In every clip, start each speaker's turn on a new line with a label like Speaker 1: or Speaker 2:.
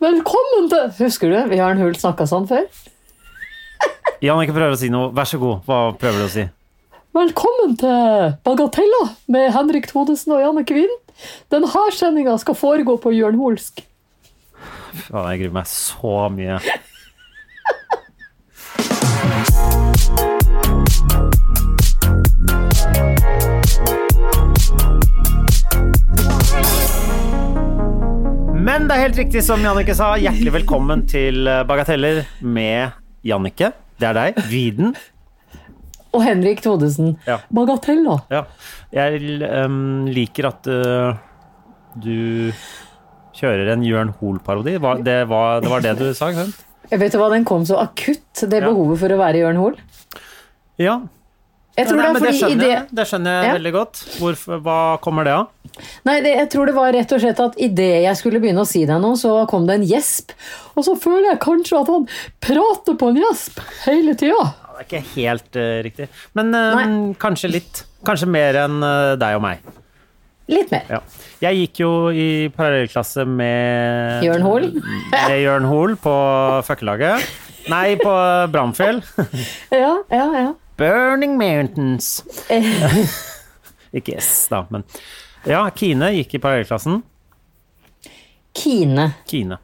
Speaker 1: Velkommen til Husker du, vi har en hul snakka sånn før.
Speaker 2: Jannicke prøver å si noe. Vær så god. Hva prøver du å si?
Speaker 1: Velkommen til Bagatella med Henrik Thodesen og Janne Kvinn. Denne sendinga skal foregå på jørnholsk.
Speaker 2: Faen, jeg gruer meg så mye. Men det er helt riktig som Jannicke sa. Hjertelig velkommen til Bagateller med Jannicke. Det er deg. Viden.
Speaker 1: Og Henrik Thodesen.
Speaker 2: Ja.
Speaker 1: Bagatella.
Speaker 2: Ja. Jeg ehm, liker at eh, du kjører en Jørn Hoel-parodi. Hva- Det, var- det var det du sa, ikke sant?
Speaker 1: Jeg vet du hva, den kom så akutt, det
Speaker 2: Ja.
Speaker 1: behovet for å være Jørn Hoel.
Speaker 2: Ja.
Speaker 1: Jeg tror
Speaker 2: Nei,
Speaker 1: det
Speaker 2: men
Speaker 1: er fordi
Speaker 2: skjønner
Speaker 1: idé...
Speaker 2: jeg, det skjønner jeg
Speaker 1: Ja.
Speaker 2: veldig godt. Hvorfor, hva kommer det av?
Speaker 1: Nei, det, jeg tror det var rett og slett at idet jeg skulle begynne å si deg noe, så kom det en gjesp. Og så føler jeg kanskje at han prater på en gjesp hele tida.
Speaker 2: Ja, Det er ikke helt eh, riktig. Men eh,
Speaker 1: Nei.
Speaker 2: kanskje litt. Kanskje mer enn eh, deg og meg.
Speaker 1: Litt mer.
Speaker 2: Ja. Jeg gikk jo i parallellklasse med
Speaker 1: Jørn Hoel?
Speaker 2: Med Jørn Hoel på Føkkelaget. Nei, på Bramfjell.
Speaker 1: Ja, ja, ja.
Speaker 2: Burning Mountains.
Speaker 1: Eh,
Speaker 2: Ikke S, da, men Ja, Kine gikk i parallellklassen.
Speaker 1: Kine.
Speaker 2: Kine.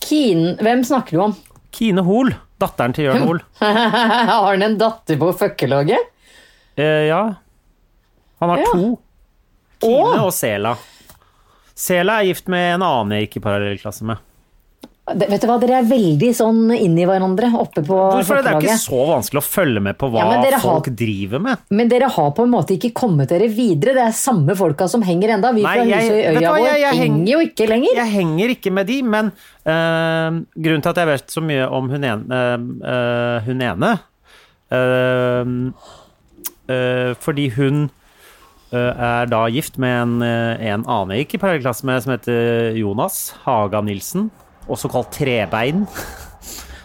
Speaker 1: Kine Hvem snakker du om?
Speaker 2: Kine Hoel. Datteren til
Speaker 1: Hm.
Speaker 2: Jørn Hoel.
Speaker 1: Har han en datter på føkkelaget?
Speaker 2: Eh, ja. Han har
Speaker 1: Ja.
Speaker 2: to. Kine og Sela. Sela er gift med en annen jeg gikk i parallellklasse med.
Speaker 1: Det- Vet du hva, Dere er veldig sånn inni hverandre oppe på
Speaker 2: Hvorfor er det? det er ikke
Speaker 1: føkkelaget.
Speaker 2: så vanskelig å følge med på hva
Speaker 1: Ja, men dere har-
Speaker 2: folk driver med.
Speaker 1: Men dere har på en måte ikke kommet dere videre. Det er samme folka som henger enda. Vi
Speaker 2: Nei,
Speaker 1: fra
Speaker 2: jeg-
Speaker 1: huset i
Speaker 2: vet du
Speaker 1: øya
Speaker 2: hva,
Speaker 1: vår
Speaker 2: jeg- jeg heng-
Speaker 1: henger jo ikke lenger.
Speaker 2: Jeg henger ikke med de, men eh, grunnen til at jeg vet så mye om hun ene, eh, hun ene eh, eh, Fordi hun eh, er da gift med en, eh, en annen jeg gikk i parallellklasse med, som heter Jonas Haga Nilsen. Også kalt Trebein.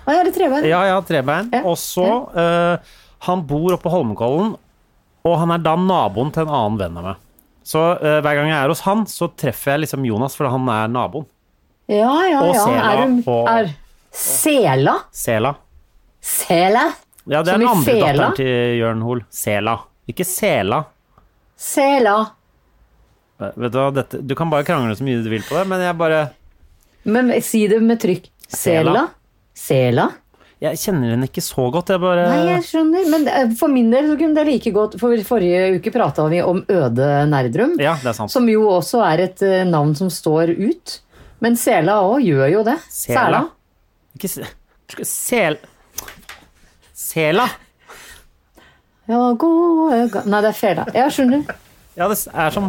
Speaker 1: Hva er det trebein?
Speaker 2: Ja, ja, trebein.
Speaker 1: Ja,
Speaker 2: Og så eh, Han bor oppe på Holmenkollen, og han er da naboen til en annen venn av meg. Så eh, hver gang jeg er hos han, så treffer jeg liksom Jonas, for han er naboen.
Speaker 1: ja, ja.
Speaker 2: Og
Speaker 1: ja.
Speaker 2: sela
Speaker 1: Er hun
Speaker 2: på-
Speaker 1: er Sela?
Speaker 2: Sela.
Speaker 1: Sela?
Speaker 2: Ja,
Speaker 1: Som
Speaker 2: det er den
Speaker 1: i
Speaker 2: andre
Speaker 1: fela?
Speaker 2: datteren til Jørn Hoel. Sela. Ikke Sela.
Speaker 1: Sela.
Speaker 2: Eh, Vet Du hva, dette, du kan bare krangle så mye du vil på det, men jeg bare
Speaker 1: Men si det med trykk. Sela? Sela?
Speaker 2: Jeg kjenner henne ikke så godt. Jeg bare
Speaker 1: Nei, jeg skjønner. Men eh, for min del så kunne det like godt For forrige uke prata vi om Øde Nerdrum.
Speaker 2: Ja, det er sant.
Speaker 1: Som jo også er et eh, navn som står ut. Men Sela òg gjør jo det.
Speaker 2: Sela? Ikke se... Sel... Sela.
Speaker 1: Ja, gode ga- Nei, det er Fela. Ja, skjønner.
Speaker 2: Ja, det er som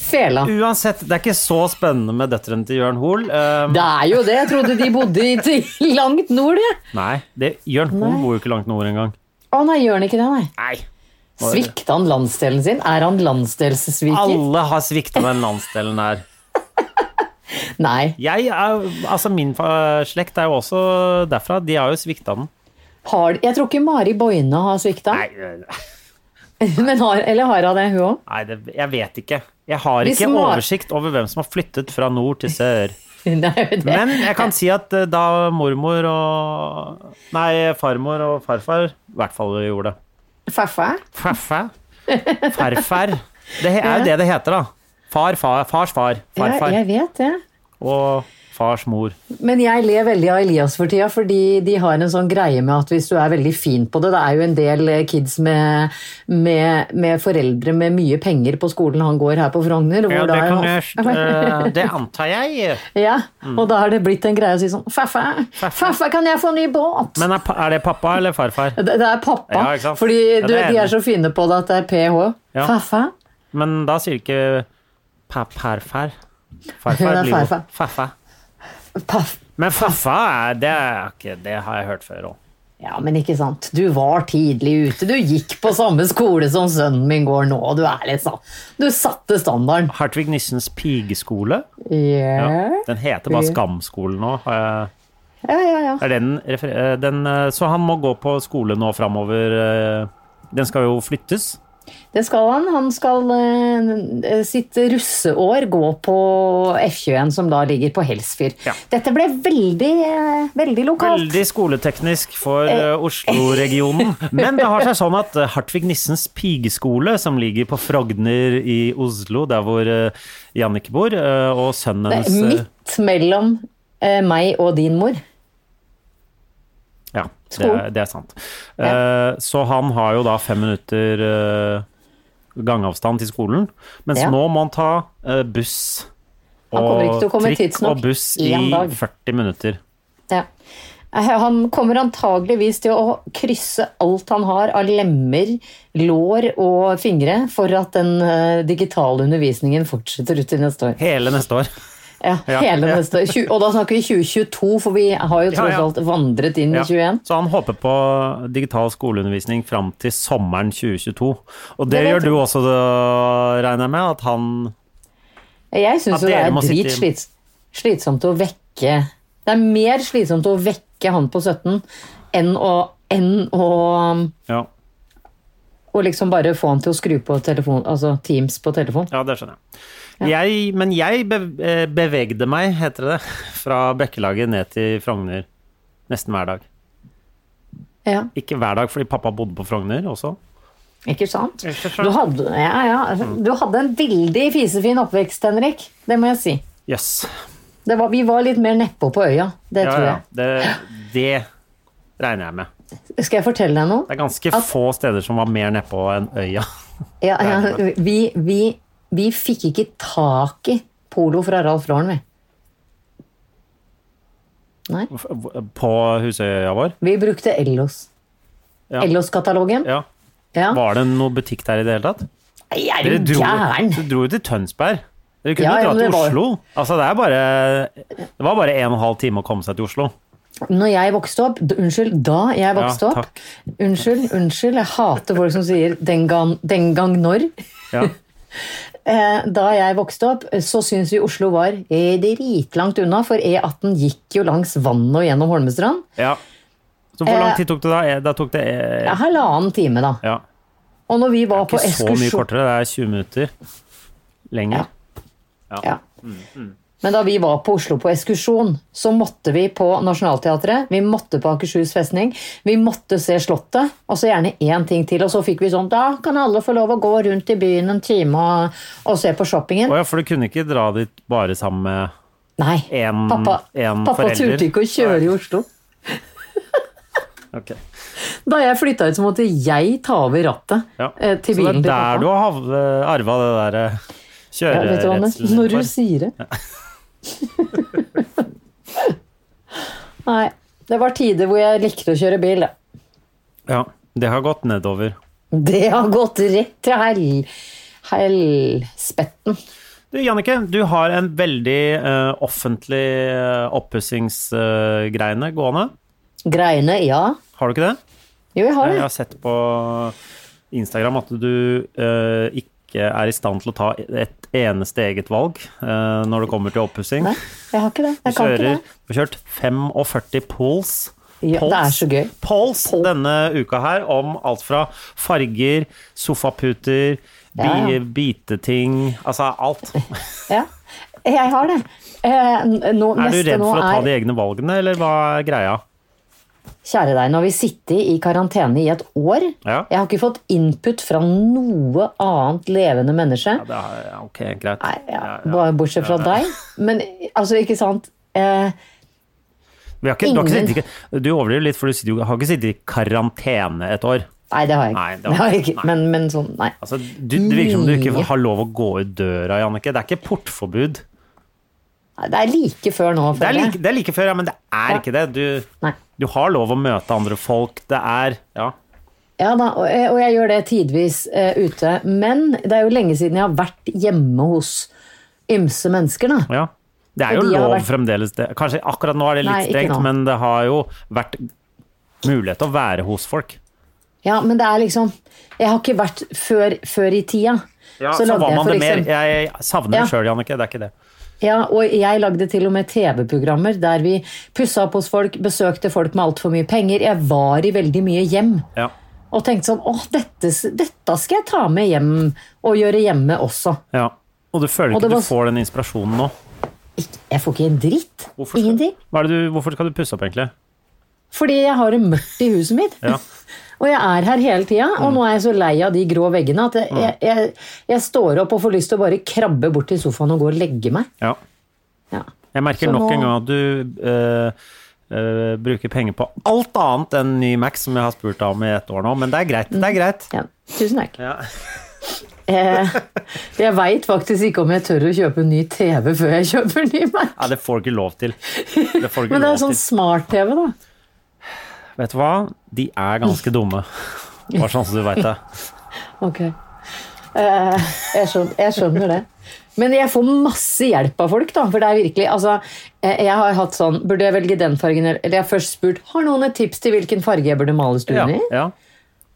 Speaker 1: Fela.
Speaker 2: Uansett, det er ikke så spennende med døtrene til Jørn Hoel. Eh,
Speaker 1: Det er jo det. Jeg trodde de bodde i til langt nord, jeg.
Speaker 2: nei, det, Jørn Hoel
Speaker 1: Nei.
Speaker 2: bor jo ikke langt nord engang.
Speaker 1: Å nei, gjør han ikke det, nei?
Speaker 2: Nei.
Speaker 1: Svikta han landsdelen sin? Er han landsdelssviker?
Speaker 2: Alle har svikta den landsdelen der.
Speaker 1: Nei.
Speaker 2: Jeg er, altså Min fa- slekt er jo også derfra. De har jo svikta den.
Speaker 1: Har, jeg tror ikke Mari Boine har svikta.
Speaker 2: Nei, eh,
Speaker 1: Men har, eller har hun det, hun òg?
Speaker 2: nei det, jeg vet ikke. Jeg har
Speaker 1: Hvis
Speaker 2: ikke
Speaker 1: Mar-
Speaker 2: oversikt over hvem som har flyttet fra nord til sør.
Speaker 1: Det er jo det.
Speaker 2: Men jeg kan si at eh, da mormor og Nei, farmor og farfar i hvert fall gjorde det.
Speaker 1: Faffa?
Speaker 2: Farfar. Farfar. Det he- er jo det det heter, da. Far, far, fars far.
Speaker 1: Ja,
Speaker 2: Farfar.
Speaker 1: jeg vet det.
Speaker 2: Og fars mor.
Speaker 1: Men jeg ler veldig av Elias for tida, fordi de har en sånn greie med at hvis du er veldig fin på det Det er jo en del eh, kids med, med, med foreldre med mye penger på skolen han går her på Frogner.
Speaker 2: Ja,
Speaker 1: hvor
Speaker 2: det
Speaker 1: da er
Speaker 2: kan
Speaker 1: han-
Speaker 2: jeg st- eh, Det antar jeg.
Speaker 1: ja, Og da er det blitt en greie å si sånn Faffa, faffa kan jeg få ny båt?
Speaker 2: Men er, pa- er det pappa eller farfar?
Speaker 1: det, det er pappa.
Speaker 2: Ja, ikke sant?
Speaker 1: Fordi
Speaker 2: Ja,
Speaker 1: du,
Speaker 2: det er
Speaker 1: de er
Speaker 2: enig.
Speaker 1: så fine på det at det er ph.
Speaker 2: Ja.
Speaker 1: Faffa?
Speaker 2: Men da sier du ikke pa- parfar.
Speaker 1: Hun
Speaker 2: Farfar
Speaker 1: er
Speaker 2: blir jo
Speaker 1: farfar.
Speaker 2: Faffa.
Speaker 1: Paff.
Speaker 2: Men faffa er det, er ikke, det har jeg hørt før òg.
Speaker 1: Ja, men ikke sant. Du var tidlig ute. Du gikk på samme skole som sønnen min går nå. Du er litt sånn Du satte standarden.
Speaker 2: Hartvig Nissens pigeskole.
Speaker 1: Yeah.
Speaker 2: Ja. Den heter bare Skamskolen nå. har jeg-
Speaker 1: Ja, ja, ja.
Speaker 2: Er det den, refer- eh, den eh, Så han må gå på skole nå framover. eh. Den skal jo flyttes.
Speaker 1: Det skal han. Han skal eh, sitt russeår gå på F21, som da ligger på Helsfyr.
Speaker 2: Ja.
Speaker 1: Dette ble veldig, eh, veldig lokalt.
Speaker 2: Veldig skoleteknisk for eh, Oslo-regionen. Men det har seg sånn at eh, Hartvig Nissens pigeskole, som ligger på Frogner i Oslo, der hvor eh, Jannicke bor, eh, og sønnen
Speaker 1: Det er
Speaker 2: hennes eh,
Speaker 1: Midt mellom eh, meg og din mor.
Speaker 2: Ja, det
Speaker 1: Skolen.
Speaker 2: er, det er sant. Eh, så han har jo da fem minutter eh, gangavstand til skolen, mens
Speaker 1: Ja.
Speaker 2: nå må han ta eh, buss
Speaker 1: Han kommer ikke
Speaker 2: og
Speaker 1: til å komme
Speaker 2: trikk
Speaker 1: tidsnok
Speaker 2: og buss i
Speaker 1: en dag.
Speaker 2: 40 minutter.
Speaker 1: Ja. Eh, Han kommer antageligvis til å krysse alt han har av lemmer, lår og fingre for at den eh, digitale undervisningen fortsetter ut til neste år.
Speaker 2: Hele neste år.
Speaker 1: Ja,
Speaker 2: Ja.
Speaker 1: hele
Speaker 2: Ja.
Speaker 1: neste år. Tju- Og da snakker vi 2022, for vi har jo
Speaker 2: Ja,
Speaker 1: tross
Speaker 2: ja.
Speaker 1: alt vandret inn
Speaker 2: Ja.
Speaker 1: i 21.
Speaker 2: Så han håper på digital skoleundervisning fram til sommeren 2022. Og det,
Speaker 1: Det vet
Speaker 2: gjør du også, da, regner jeg med, at han
Speaker 1: Jeg
Speaker 2: At
Speaker 1: syns jo det
Speaker 2: dere
Speaker 1: er
Speaker 2: må sitte
Speaker 1: drit slits, slitsomt å vekke Det er mer slitsomt å vekke han på 17 enn å, enn å
Speaker 2: Ja,
Speaker 1: å liksom bare få han til å skru på telefon, altså Teams på telefon.
Speaker 2: ja det skjønner jeg. jeg men jeg bev- eh, bevegde meg, heter det, fra Bekkelaget ned til Frogner nesten hver dag.
Speaker 1: Ja.
Speaker 2: Ikke hver dag, fordi pappa bodde på Frogner også.
Speaker 1: Ikke sant? Du hadde, ja, ja. du hadde en veldig fisefin oppvekst, Henrik. Det må jeg si.
Speaker 2: Jøss.
Speaker 1: Det var, vi var litt mer nedpå på øya. Det
Speaker 2: Ja,
Speaker 1: tror
Speaker 2: ja.
Speaker 1: jeg.
Speaker 2: Det, det regner jeg med.
Speaker 1: Skal jeg fortelle deg noe?
Speaker 2: Det er ganske få steder som var mer nedpå enn øya.
Speaker 1: Ja,
Speaker 2: det er
Speaker 1: ja, vi, vi, vi fikk ikke tak i polo fra Ralf Lauren, vi. Nei.
Speaker 2: På Husøya vår.
Speaker 1: Vi brukte Ellos.
Speaker 2: Ja.
Speaker 1: Ellos-katalogen.
Speaker 2: Ja.
Speaker 1: Ja.
Speaker 2: Var det noen butikk der i det hele tatt?
Speaker 1: Nei, Er
Speaker 2: Dere
Speaker 1: du
Speaker 2: dro,
Speaker 1: gæren?
Speaker 2: dere dro jo til Tønsberg. Dere kunne
Speaker 1: Ja,
Speaker 2: jo
Speaker 1: ja,
Speaker 2: dra
Speaker 1: men
Speaker 2: til
Speaker 1: det var-
Speaker 2: Oslo. Altså, det, er bare, det var bare en og en halv time å komme seg til Oslo.
Speaker 1: Når jeg vokste opp d- Unnskyld, da jeg vokste opp.
Speaker 2: takk.
Speaker 1: Unnskyld, unnskyld. Jeg hater folk som sier 'den gang, den gang når'.
Speaker 2: Ja.
Speaker 1: Eh, Da jeg vokste opp, så syntes vi Oslo var eh, dritlangt unna, for E18 gikk jo langs vannet og gjennom Holmestrand.
Speaker 2: ja. Så hvor lang
Speaker 1: Eh,
Speaker 2: tid tok det da? Eh, Da tok det eh,
Speaker 1: Ja, halvannen time, da.
Speaker 2: Ja.
Speaker 1: Og når vi var på
Speaker 2: Ikke så mye
Speaker 1: ekskursjon
Speaker 2: kortere, det er 20 minutter lenger.
Speaker 1: ja. Men da vi var på Oslo på ekskursjon, så måtte vi på Nationaltheatret, vi måtte på Akershus festning, vi måtte se Slottet, og så gjerne én ting til. Og så fikk vi sånn Da kan alle få lov å gå rundt i byen en time og, og se på shoppingen.
Speaker 2: Å ja, for du kunne ikke dra dit bare sammen med
Speaker 1: Nei.
Speaker 2: En-
Speaker 1: pappa
Speaker 2: en
Speaker 1: pappa
Speaker 2: forelder.
Speaker 1: turte ikke å kjøre i Oslo.
Speaker 2: Ok.
Speaker 1: Da jeg flytta ut, så måtte jeg ta over rattet
Speaker 2: Ja.
Speaker 1: eh, til
Speaker 2: så det
Speaker 1: bilen
Speaker 2: er
Speaker 1: til
Speaker 2: der du
Speaker 1: pappa.
Speaker 2: har arva det der eh,
Speaker 1: Ja, vet du, hva, Anders,
Speaker 2: kjøreredselen
Speaker 1: når du
Speaker 2: for.
Speaker 1: sier det. Nei. Det var tider hvor jeg likte å kjøre bil. da.
Speaker 2: Ja, det har gått nedover.
Speaker 1: Det har gått rett til hel... helspetten.
Speaker 2: Du, Jannicke, du har en veldig eh, offentlig uh, oppussingsgreiene gående.
Speaker 1: Greiene, ja.
Speaker 2: Har du ikke det?
Speaker 1: Jo, jeg har
Speaker 2: Jeg
Speaker 1: det.
Speaker 2: har sett på Instagram at du eh, ikke er i stand til å ta et eneste eget valg eh, når det kommer til oppussing.
Speaker 1: Nei, jeg har ikke det.
Speaker 2: Du
Speaker 1: Jeg kan ikke
Speaker 2: kjører,
Speaker 1: det.
Speaker 2: du har kjørt 45 pools.
Speaker 1: Ja, det er så gøy.
Speaker 2: Polls denne uka her om alt fra farger, sofaputer, bi,
Speaker 1: Ja, ja.
Speaker 2: biteting Altså alt.
Speaker 1: Ja. Jeg har det. Eh, n- nå,
Speaker 2: Er du
Speaker 1: neste
Speaker 2: redd
Speaker 1: nå
Speaker 2: for å ta
Speaker 1: er-
Speaker 2: de egne valgene, eller hva er greia?
Speaker 1: Kjære deg, nå har vi sittet i karantene i et år.
Speaker 2: Ja.
Speaker 1: Jeg har ikke fått input fra noe annet levende menneske.
Speaker 2: Ja, det er, ja, ok, greit.
Speaker 1: Nei, ja,
Speaker 2: Ja,
Speaker 1: bare Bortsett fra deg. Men altså, ikke sant eh,
Speaker 2: Vi har ikke, du, har ikke
Speaker 1: Ingen.
Speaker 2: sittet, i- du overdriver litt, for du sitter, jo- har ikke sittet i karantene et år.
Speaker 1: Nei, det har jeg ikke.
Speaker 2: Nei, det
Speaker 1: det har jeg ikke.
Speaker 2: nei.
Speaker 1: Men, men sånn, nei.
Speaker 2: Altså, du, det virker som du ikke har lov å gå ut døra, Jannicke. Det er ikke portforbud.
Speaker 1: nei. Det er like før nå.
Speaker 2: Det er
Speaker 1: føler jeg.
Speaker 2: like, det er like før, ja, men det er
Speaker 1: Ja.
Speaker 2: ikke det. Du,
Speaker 1: Nei.
Speaker 2: du har lov å møte andre folk. Det er Ja.
Speaker 1: Ja da, og jeg, og jeg eh, gjør det tidvis eh, ute. Men det er jo lenge siden jeg har vært hjemme hos ymse mennesker, da.
Speaker 2: Ja. Det er jo
Speaker 1: Og de har
Speaker 2: lov
Speaker 1: vært-
Speaker 2: fremdeles. Det. Kanskje akkurat nå er det litt
Speaker 1: Nei, ikke
Speaker 2: strengt,
Speaker 1: nå.
Speaker 2: men det har jo vært mulighet til å være hos folk.
Speaker 1: Ja, men det er liksom Jeg har ikke vært før, før i tida.
Speaker 2: Ja, så,
Speaker 1: lagde
Speaker 2: var man
Speaker 1: for
Speaker 2: det mer.
Speaker 1: eksempel-
Speaker 2: Jeg savner
Speaker 1: Ja.
Speaker 2: det sjøl, Jannicke. Det er ikke det.
Speaker 1: Ja, og jeg lagde til og med TV-programmer der vi pussa opp hos folk, besøkte folk med altfor mye penger. Jeg var i veldig mye hjem
Speaker 2: Ja.
Speaker 1: og tenkte sånn åh, dette, dette skal jeg ta med hjem og gjøre hjemme også.
Speaker 2: ja. Og du føler
Speaker 1: Og
Speaker 2: ikke
Speaker 1: det var-
Speaker 2: du får den inspirasjonen nå?
Speaker 1: Ikke- Jeg får ikke en dritt.
Speaker 2: Hvorfor skal,
Speaker 1: Ingenting.
Speaker 2: Hva er det du, hvorfor skal du pusse opp, egentlig?
Speaker 1: Fordi jeg har det mørkt i huset mitt.
Speaker 2: Ja.
Speaker 1: Og jeg er her hele tida, og nå er jeg så lei av de grå veggene at
Speaker 2: Mm.
Speaker 1: jeg, jeg, jeg, jeg står opp og får lyst til å bare krabbe bort til sofaen og gå og legge meg.
Speaker 2: ja.
Speaker 1: Ja.
Speaker 2: Jeg merker
Speaker 1: Så nå-
Speaker 2: nok en gang at du eh, eh, bruker penger på alt annet enn ny Mac, som jeg har spurt deg om i et år nå, men det er greit. Det er greit.
Speaker 1: Ja. Tusen takk.
Speaker 2: Ja.
Speaker 1: Eh, jeg veit faktisk ikke om jeg tør å kjøpe en ny TV før jeg kjøper en ny Mac.
Speaker 2: Ja, det får du ikke lov til. Det får du ikke
Speaker 1: Men det
Speaker 2: lov
Speaker 1: er sånn
Speaker 2: til.
Speaker 1: smart-TV, da.
Speaker 2: Vet du hva? De er ganske dumme. Bare sånn som du veit det.
Speaker 1: Ok. Eh, jeg, skjønner, jeg skjønner det. Men jeg får masse hjelp av folk, da. For det er virkelig Altså, eh, jeg har hatt sånn Burde jeg velge den fargen? Eller eller jeg har først spurt Har noen et tips til hvilken farge jeg burde male
Speaker 2: Ja,
Speaker 1: stuen i?
Speaker 2: ja,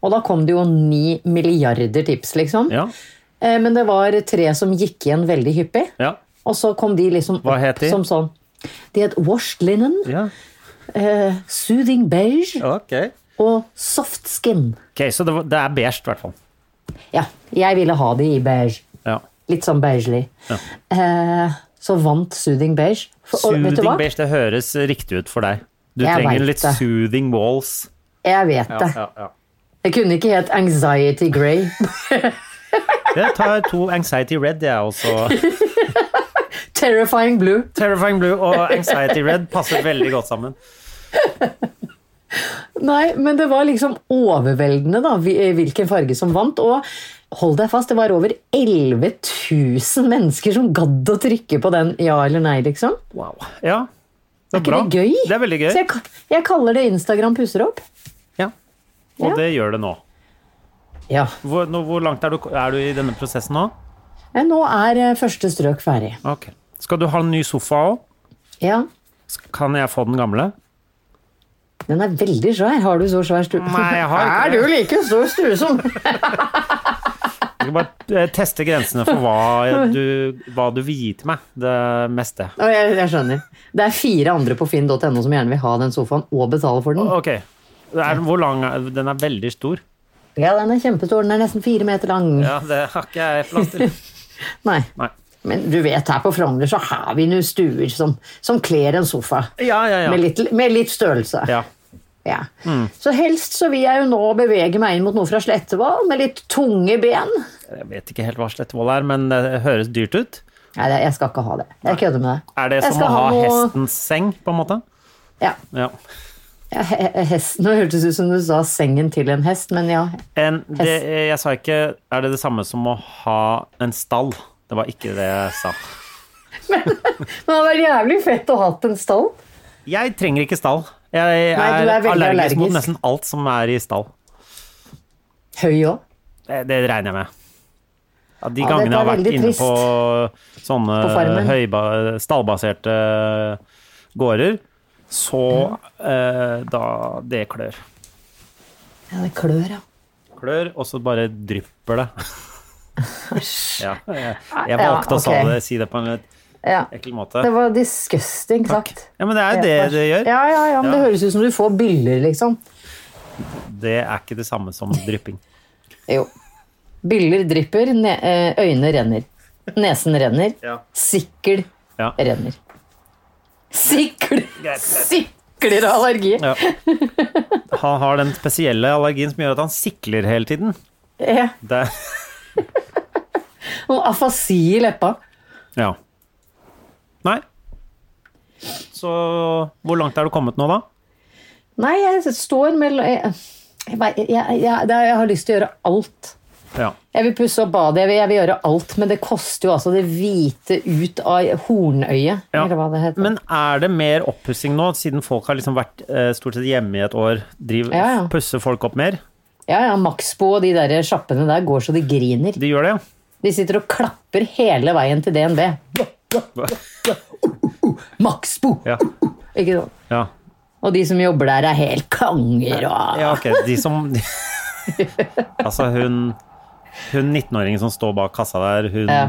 Speaker 1: Og da kom det jo ni milliarder tips, liksom.
Speaker 2: ja,
Speaker 1: Eh, men det var tre som gikk igjen veldig hyppig.
Speaker 2: ja.
Speaker 1: Og så kom de liksom
Speaker 2: Hva het
Speaker 1: opp
Speaker 2: de?
Speaker 1: som sånn De het washed linen,
Speaker 2: ja.
Speaker 1: eh, soothing beige
Speaker 2: Ok.
Speaker 1: og soft skin.
Speaker 2: Ok, Så det, var- det er beige, i hvert fall.
Speaker 1: Ja, jeg ville ha de i beige.
Speaker 2: Ja.
Speaker 1: Litt sånn beigelig. Eh, så vant Soothing Beige. For, og, vet du
Speaker 2: Soothing
Speaker 1: hva?
Speaker 2: beige, det høres riktig ut for deg. Du
Speaker 1: Jeg
Speaker 2: trenger
Speaker 1: vet
Speaker 2: litt
Speaker 1: det.
Speaker 2: soothing walls.
Speaker 1: Jeg vet det. Det kunne ikke hett Anxiety Grey.
Speaker 2: Jeg tar to Anxiety Red, jeg også.
Speaker 1: Terrifying Blue.
Speaker 2: Terrifying Blue og Anxiety Red passer veldig godt sammen.
Speaker 1: Nei, men det var liksom overveldende da, hvil- hvilken farge som vant. Og hold deg fast, det var over 11 000 mennesker som gadd å trykke på den ja eller nei, liksom.
Speaker 2: Ja. Det er,
Speaker 1: Er ikke det gøy?
Speaker 2: Det er veldig gøy.
Speaker 1: Så jeg, ka- jeg kaller det Instagram pusser opp.
Speaker 2: Ja. Og
Speaker 1: Ja.
Speaker 2: det gjør det nå.
Speaker 1: Ja.
Speaker 2: Hvor, nå, hvor langt er du, er du i denne prosessen nå?
Speaker 1: Men nå er eh, første strøk ferdig.
Speaker 2: Ok. Skal du ha en ny sofa òg?
Speaker 1: Ja.
Speaker 2: Kan jeg få den gamle?
Speaker 1: Den er veldig svær. Har du så svær stue?
Speaker 2: Nei, jeg har ikke
Speaker 1: Er du like stor stue som
Speaker 2: Jeg skal bare eh, teste grensene for hva jeg- du, hva du vil gi til meg. Det meste.
Speaker 1: Å, jeg, jeg skjønner. Det er fire andre på finn.no som gjerne vil ha den sofaen og betale for den.
Speaker 2: Ok. Det er, hvor lang er Den er veldig stor.
Speaker 1: Ja, den er kjempestor. Den er nesten fire meter lang.
Speaker 2: Ja, det har ikke jeg plass til.
Speaker 1: Nei.
Speaker 2: Nei.
Speaker 1: Men du vet, her på Frogner så har vi noen stuer som, som kler en sofa.
Speaker 2: Ja, ja, ja.
Speaker 1: Med, litt, med litt størrelse.
Speaker 2: ja. Mm.
Speaker 1: Ja. Så helst så vil jeg jo nå bevege meg inn mot noe fra Slettevoll med litt tunge ben.
Speaker 2: Jeg vet ikke helt hva Slettevoll er, men det høres dyrt ut.
Speaker 1: Nei, det- jeg skal ikke ha det. Jeg kødder med deg.
Speaker 2: Er det
Speaker 1: Jeg
Speaker 2: som
Speaker 1: skal
Speaker 2: å ha
Speaker 1: noe-
Speaker 2: hestens seng, på en måte?
Speaker 1: Ja.
Speaker 2: Ja.
Speaker 1: Ja, he- he- Hesten, Nå hørtes det ut som du sa sengen til en hest, men ja.
Speaker 2: En, det, jeg sa ikke Er det det samme som å ha en stall? Det var ikke det jeg sa.
Speaker 1: Men det hadde vært jævlig fett å ha hatt en stall.
Speaker 2: Jeg trenger ikke stall. Jeg er,
Speaker 1: Nei, du er
Speaker 2: allergisk,
Speaker 1: veldig
Speaker 2: mot
Speaker 1: allergisk.
Speaker 2: nesten alt som er i stall.
Speaker 1: Høy òg.
Speaker 2: Det, det regner jeg med. Ja, de
Speaker 1: Ja, dette
Speaker 2: gangene jeg har
Speaker 1: er
Speaker 2: vært
Speaker 1: veldig
Speaker 2: inne
Speaker 1: trist.
Speaker 2: på sånne
Speaker 1: På farmen.
Speaker 2: høyba, stallbaserte eh, gårder, så
Speaker 1: Mhm.
Speaker 2: eh, da Det klør.
Speaker 1: Ja, det klør, ja.
Speaker 2: Klør, og så bare drypper det. ja, jeg, jeg
Speaker 1: Ja,
Speaker 2: valgte å sa
Speaker 1: ok.
Speaker 2: det, si det på en litt
Speaker 1: Ja.
Speaker 2: ekkel måte.
Speaker 1: Det var disgusting sagt.
Speaker 2: Ja, men det er jo det det gjør.
Speaker 1: Ja, ja, ja, men
Speaker 2: Ja.
Speaker 1: Det høres ut som du får byller, liksom.
Speaker 2: Det er ikke det samme som drypping.
Speaker 1: Jo. Byller drypper, ne eh, øyne renner. Nesen renner.
Speaker 2: Ja.
Speaker 1: Sikkel
Speaker 2: Ja.
Speaker 1: renner. Sikkel!
Speaker 2: greit.
Speaker 1: Sikler av allergi.
Speaker 2: Ja. Han har den spesielle allergien som gjør at han sikler hele tiden.
Speaker 1: Ja.
Speaker 2: Det,
Speaker 1: Og afasi i leppa.
Speaker 2: ja. Nei. Så hvor langt er du kommet nå, da?
Speaker 1: Nei, jeg står mellom jeg, jeg, vei- jeg, jeg, jeg, det er- jeg har lyst til å gjøre alt.
Speaker 2: Ja.
Speaker 1: Jeg vil pusse opp badet, jeg vil, jeg vil gjøre alt, men det koster jo altså det hvite ut av hornøyet.
Speaker 2: Ja.
Speaker 1: Eller hva det heter.
Speaker 2: Men er det mer oppussing nå, siden folk har liksom vært eh, stort sett hjemme i et år? Driv,
Speaker 1: Ja, ja.
Speaker 2: Pusser folk opp mer?
Speaker 1: Ja, ja, Maxbo og de der sjappene der går så de griner.
Speaker 2: De gjør det, ja.
Speaker 1: De sitter og klapper hele veien til DNB. Maxbo!
Speaker 2: Ja.
Speaker 1: Ikke sånn.
Speaker 2: ja.
Speaker 1: Og de som jobber der, er helt konger og
Speaker 2: Ja, ok, de som Altså, hun Hun 19-åringen som står bak kassa der, hun,
Speaker 1: Ja.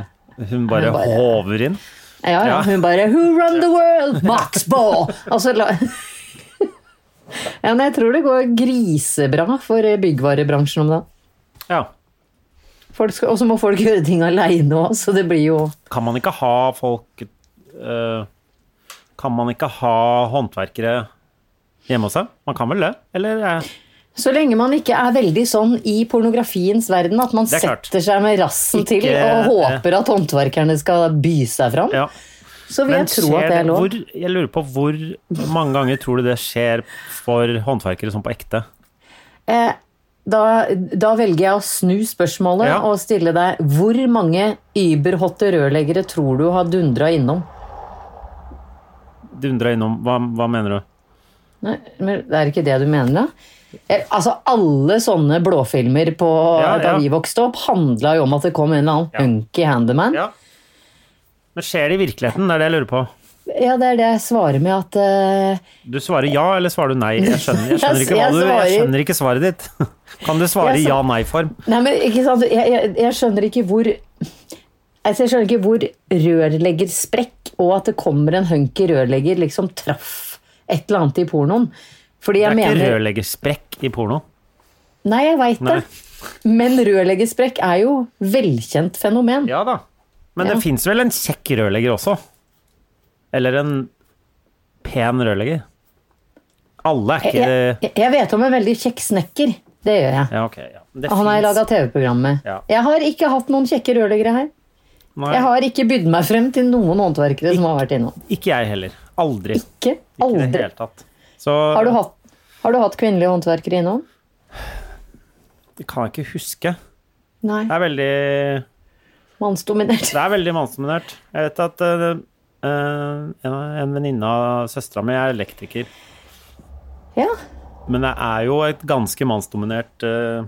Speaker 2: hun bare
Speaker 1: Hun bare-
Speaker 2: håver inn.
Speaker 1: Ja, ja.
Speaker 2: Ja.
Speaker 1: Hun bare 'Who run the world? Max Baw!» Og så la... Ja, men jeg tror det går grisebra for byggvarebransjen om dagen.
Speaker 2: Ja.
Speaker 1: Folk skal- Og så må folk gjøre ting aleine òg, så det blir jo
Speaker 2: Kan man ikke ha folk eh, Kan man ikke ha håndverkere hjemme hos seg? Man kan vel det? Eller eh,
Speaker 1: Så lenge man ikke er veldig sånn i pornografiens verden, at man
Speaker 2: Det er klart.
Speaker 1: setter seg med rassen til
Speaker 2: Ikke-
Speaker 1: og håper at håndverkerne skal by seg fram,
Speaker 2: Ja.
Speaker 1: så vil jeg tro
Speaker 2: skjer
Speaker 1: at det er lov.
Speaker 2: Hvor, jeg lurer på hvor mange ganger tror du det skjer for håndverkere som på ekte?
Speaker 1: Eh, da, da velger jeg å snu spørsmålet
Speaker 2: Ja.
Speaker 1: og stille deg hvor mange überhotte rørleggere tror du har dundra innom?
Speaker 2: Dundra innom hva, hva mener du?
Speaker 1: Nei, men Det er ikke det du mener, da? Eh, Altså, alle sånne blåfilmer på,
Speaker 2: Ja,
Speaker 1: da
Speaker 2: ja.
Speaker 1: vi vokste opp, handla jo om at det kom en eller annen hunky handyman. Ja.
Speaker 2: Ja. Men skjer det i virkeligheten? Det er det jeg lurer på.
Speaker 1: det er det jeg svarer med at eh,
Speaker 2: Du svarer ja, eller svarer du nei? Jeg skjønner, jeg skjønner, ikke, hva
Speaker 1: Jeg
Speaker 2: du, jeg
Speaker 1: svarer-
Speaker 2: skjønner ikke svaret ditt. Kan du svare
Speaker 1: Jeg sa-
Speaker 2: ja-nei-form?
Speaker 1: Nei, men ikke sant? Jeg, jeg, jeg skjønner ikke hvor altså, Jeg skjønner ikke hvor rørleggersprekk og at det kommer en hunky rørlegger liksom traff et eller annet i pornoen. Fordi
Speaker 2: Det
Speaker 1: jeg
Speaker 2: er ikke
Speaker 1: mener
Speaker 2: rørleggersprekk i porno.
Speaker 1: Nei, jeg veit det.
Speaker 2: Nei.
Speaker 1: Men rørleggersprekk er jo velkjent fenomen.
Speaker 2: Ja da. Men
Speaker 1: Ja.
Speaker 2: det fins vel en kjekk rørlegger også? Eller en pen rørlegger? Alle er ikke
Speaker 1: Jeg, jeg- jeg vet om en veldig kjekk snekker. Det gjør jeg.
Speaker 2: Ja, ok. Ja. Men Det
Speaker 1: Han har jeg
Speaker 2: finnes-
Speaker 1: Ah, laga TV-program med.
Speaker 2: Ja.
Speaker 1: Jeg har ikke hatt noen kjekke rørleggere her.
Speaker 2: Nei,
Speaker 1: Jeg har ikke bydd meg frem til noen håndverkere som har vært innom.
Speaker 2: Ikke jeg heller. Aldri.
Speaker 1: Ikke.
Speaker 2: Ikke i det
Speaker 1: Aldri.
Speaker 2: hele tatt. Så
Speaker 1: Har du hatt, har du hatt kvinnelige håndverkere innom?
Speaker 2: det kan jeg ikke huske.
Speaker 1: Nei.
Speaker 2: Det er veldig
Speaker 1: Mannsdominert.
Speaker 2: Det er veldig mannsdominert. Jeg vet at eh, eh, en, en venninne av søstera mi er elektriker.
Speaker 1: Ja.
Speaker 2: Men det er jo et ganske mannsdominert eh,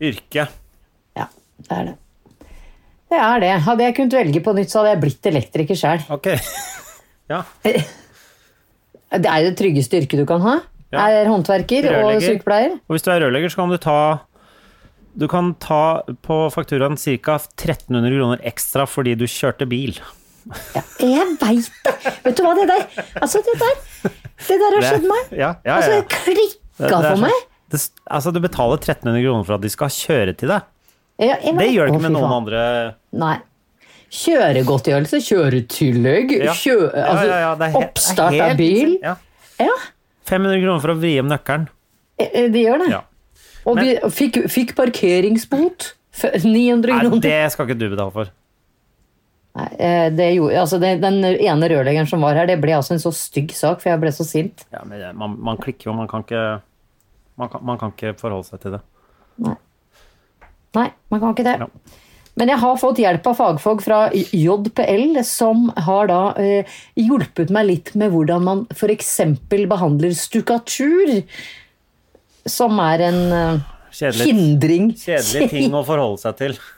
Speaker 2: yrke.
Speaker 1: ja, det er det. Det er det. Hadde jeg kunnet velge på nytt, så hadde jeg blitt elektriker sjøl.
Speaker 2: Ok. ja.
Speaker 1: Det er jo det tryggeste yrket du kan ha.
Speaker 2: Ja.
Speaker 1: Er håndverker og
Speaker 2: Rørlegger.
Speaker 1: sykepleier.
Speaker 2: Og hvis du er rørlegger, så kan du ta Du kan ta på fakturaen ca. 1300 kroner ekstra fordi du kjørte bil.
Speaker 1: Ja, jeg veit det! Vet du hva, det der Altså, det der Det der har skjedd meg.
Speaker 2: Ja, ja, ja.
Speaker 1: Altså, det klikka
Speaker 2: Det- det er
Speaker 1: for
Speaker 2: sånn-
Speaker 1: meg.
Speaker 2: Det, s- altså, du betaler 1300 kroner for at de skal kjøre til deg.
Speaker 1: Ja, jeg
Speaker 2: Det
Speaker 1: vet-
Speaker 2: gjør
Speaker 1: Å,
Speaker 2: det ikke med
Speaker 1: fy
Speaker 2: noen
Speaker 1: faen.
Speaker 2: andre
Speaker 1: Nei. Kjøregodtgjørelse, kjøretillegg,
Speaker 2: Ja.
Speaker 1: kjø...
Speaker 2: Ja,
Speaker 1: Altså,
Speaker 2: ja, ja, det er he- det er
Speaker 1: oppstart
Speaker 2: helt-
Speaker 1: av bil.
Speaker 2: Ja.
Speaker 1: Ja,
Speaker 2: 500 kroner for å vri hjem nøkkelen.
Speaker 1: eh, det gjør det.
Speaker 2: Ja.
Speaker 1: Og vi fikk, fikk parkeringsbot. F- 900
Speaker 2: Nei,
Speaker 1: kroner.
Speaker 2: det skal ikke du betale for.
Speaker 1: Nei, eh, det gjorde, altså det, den ene rørleggeren som var her, det ble altså en så stygg sak, for jeg ble så sint.
Speaker 2: Ja, men det- man, man klikker jo, man kan ikke man kan, man kan ikke forholde seg til det.
Speaker 1: Nei, man kan ikke det.
Speaker 2: Ja.
Speaker 1: Men jeg har fått hjelp av fagfolk fra JPL, som har da eh, hjulpet meg litt med hvordan man f.eks. behandler stukkatur, som er en eh,
Speaker 2: Kjedelig,
Speaker 1: hindring.
Speaker 2: kjedelige ting å forholde seg til.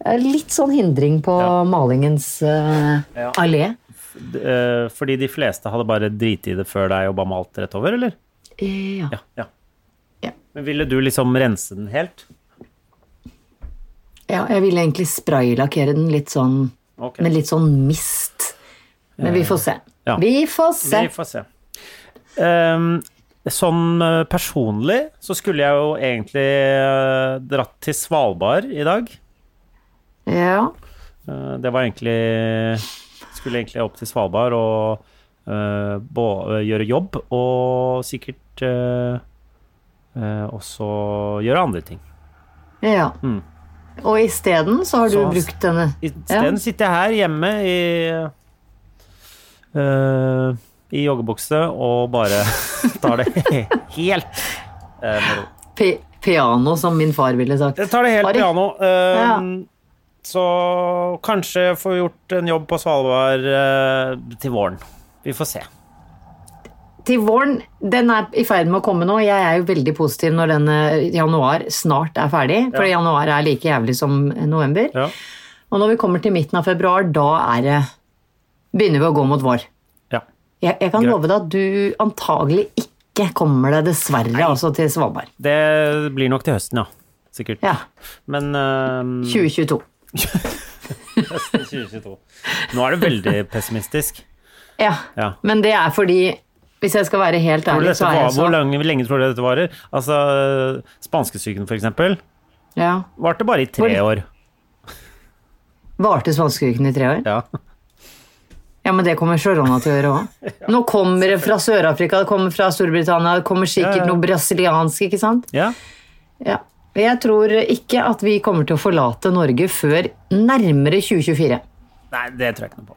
Speaker 1: Ja, Litt sånn hindring på
Speaker 2: Ja.
Speaker 1: malingens eh,
Speaker 2: Ja.
Speaker 1: allé.
Speaker 2: D- eh, Fordi de fleste hadde bare driti i det før deg og bare malt rett over, eller?
Speaker 1: Eh, ja.
Speaker 2: Ja. ja.
Speaker 1: Ja.
Speaker 2: Men ville du liksom rense den helt?
Speaker 1: ja, jeg ville egentlig spraylakkere den litt sånn
Speaker 2: Ok. Eh,
Speaker 1: Med litt sånn mist. Men vi får se.
Speaker 2: Ja.
Speaker 1: Vi får se.
Speaker 2: Vi får se. Ehm, sånn eh, personlig så skulle jeg jo egentlig eh, dratt til Svalbard i dag.
Speaker 1: Ja.
Speaker 2: Eh, Det var egentlig Skulle egentlig opp til Svalbard og eh, bå, eh, gjøre jobb, og sikkert eh, eh, også gjøre andre ting.
Speaker 1: ja.
Speaker 2: Mm.
Speaker 1: Og isteden så har du
Speaker 2: Så-
Speaker 1: brukt denne.
Speaker 2: Isteden sitter jeg her hjemme i eh, I joggebukse og bare tar det helt eh, med ro.
Speaker 1: Pi piano, som min far ville sagt.
Speaker 2: Jeg tar det helt
Speaker 1: Har de-
Speaker 2: piano. eh, Så kanskje jeg får gjort en jobb på Svalbard eh, til våren. Vi får se.
Speaker 1: Til våren, den er i ferd med å komme nå. Jeg er jo veldig positiv når denne januar snart er ferdig. For
Speaker 2: Ja.
Speaker 1: januar er like jævlig som november.
Speaker 2: Ja.
Speaker 1: Og når vi kommer til midten av februar, da er det Begynner vi å gå mot vår.
Speaker 2: Ja.
Speaker 1: Jeg, jeg kan
Speaker 2: Greit.
Speaker 1: love deg at du antagelig ikke kommer deg dessverre altså til Svalbard.
Speaker 2: Det blir nok til høsten, ja. Sikkert.
Speaker 1: Ja.
Speaker 2: Men ehm,
Speaker 1: 2022.
Speaker 2: høsten 2022. Nå er det veldig pessimistisk.
Speaker 1: Ja.
Speaker 2: Ja.
Speaker 1: Men det er fordi Hvis jeg skal være helt
Speaker 2: Tror du
Speaker 1: ærlig,
Speaker 2: dette
Speaker 1: så er jeg
Speaker 2: var,
Speaker 1: så
Speaker 2: hvor lenge, hvor lenge tror du dette varer? Altså, Spanskesyken, for eksempel,
Speaker 1: ja.
Speaker 2: varte bare i tre
Speaker 1: Hvor-
Speaker 2: år.
Speaker 1: Varte spanskeuken i tre år?
Speaker 2: Ja.
Speaker 1: Ja, men det kommer korona til å gjøre òg. Nå kommer det fra Sør-Afrika, det kommer fra Storbritannia, det kommer
Speaker 2: Ja,
Speaker 1: sikkert
Speaker 2: ja.
Speaker 1: noe brasiliansk, ikke sant?
Speaker 2: ja.
Speaker 1: Ja. Jeg tror ikke at vi kommer til å forlate Norge før nærmere 2024.
Speaker 2: Nei, det tror jeg ikke noe på.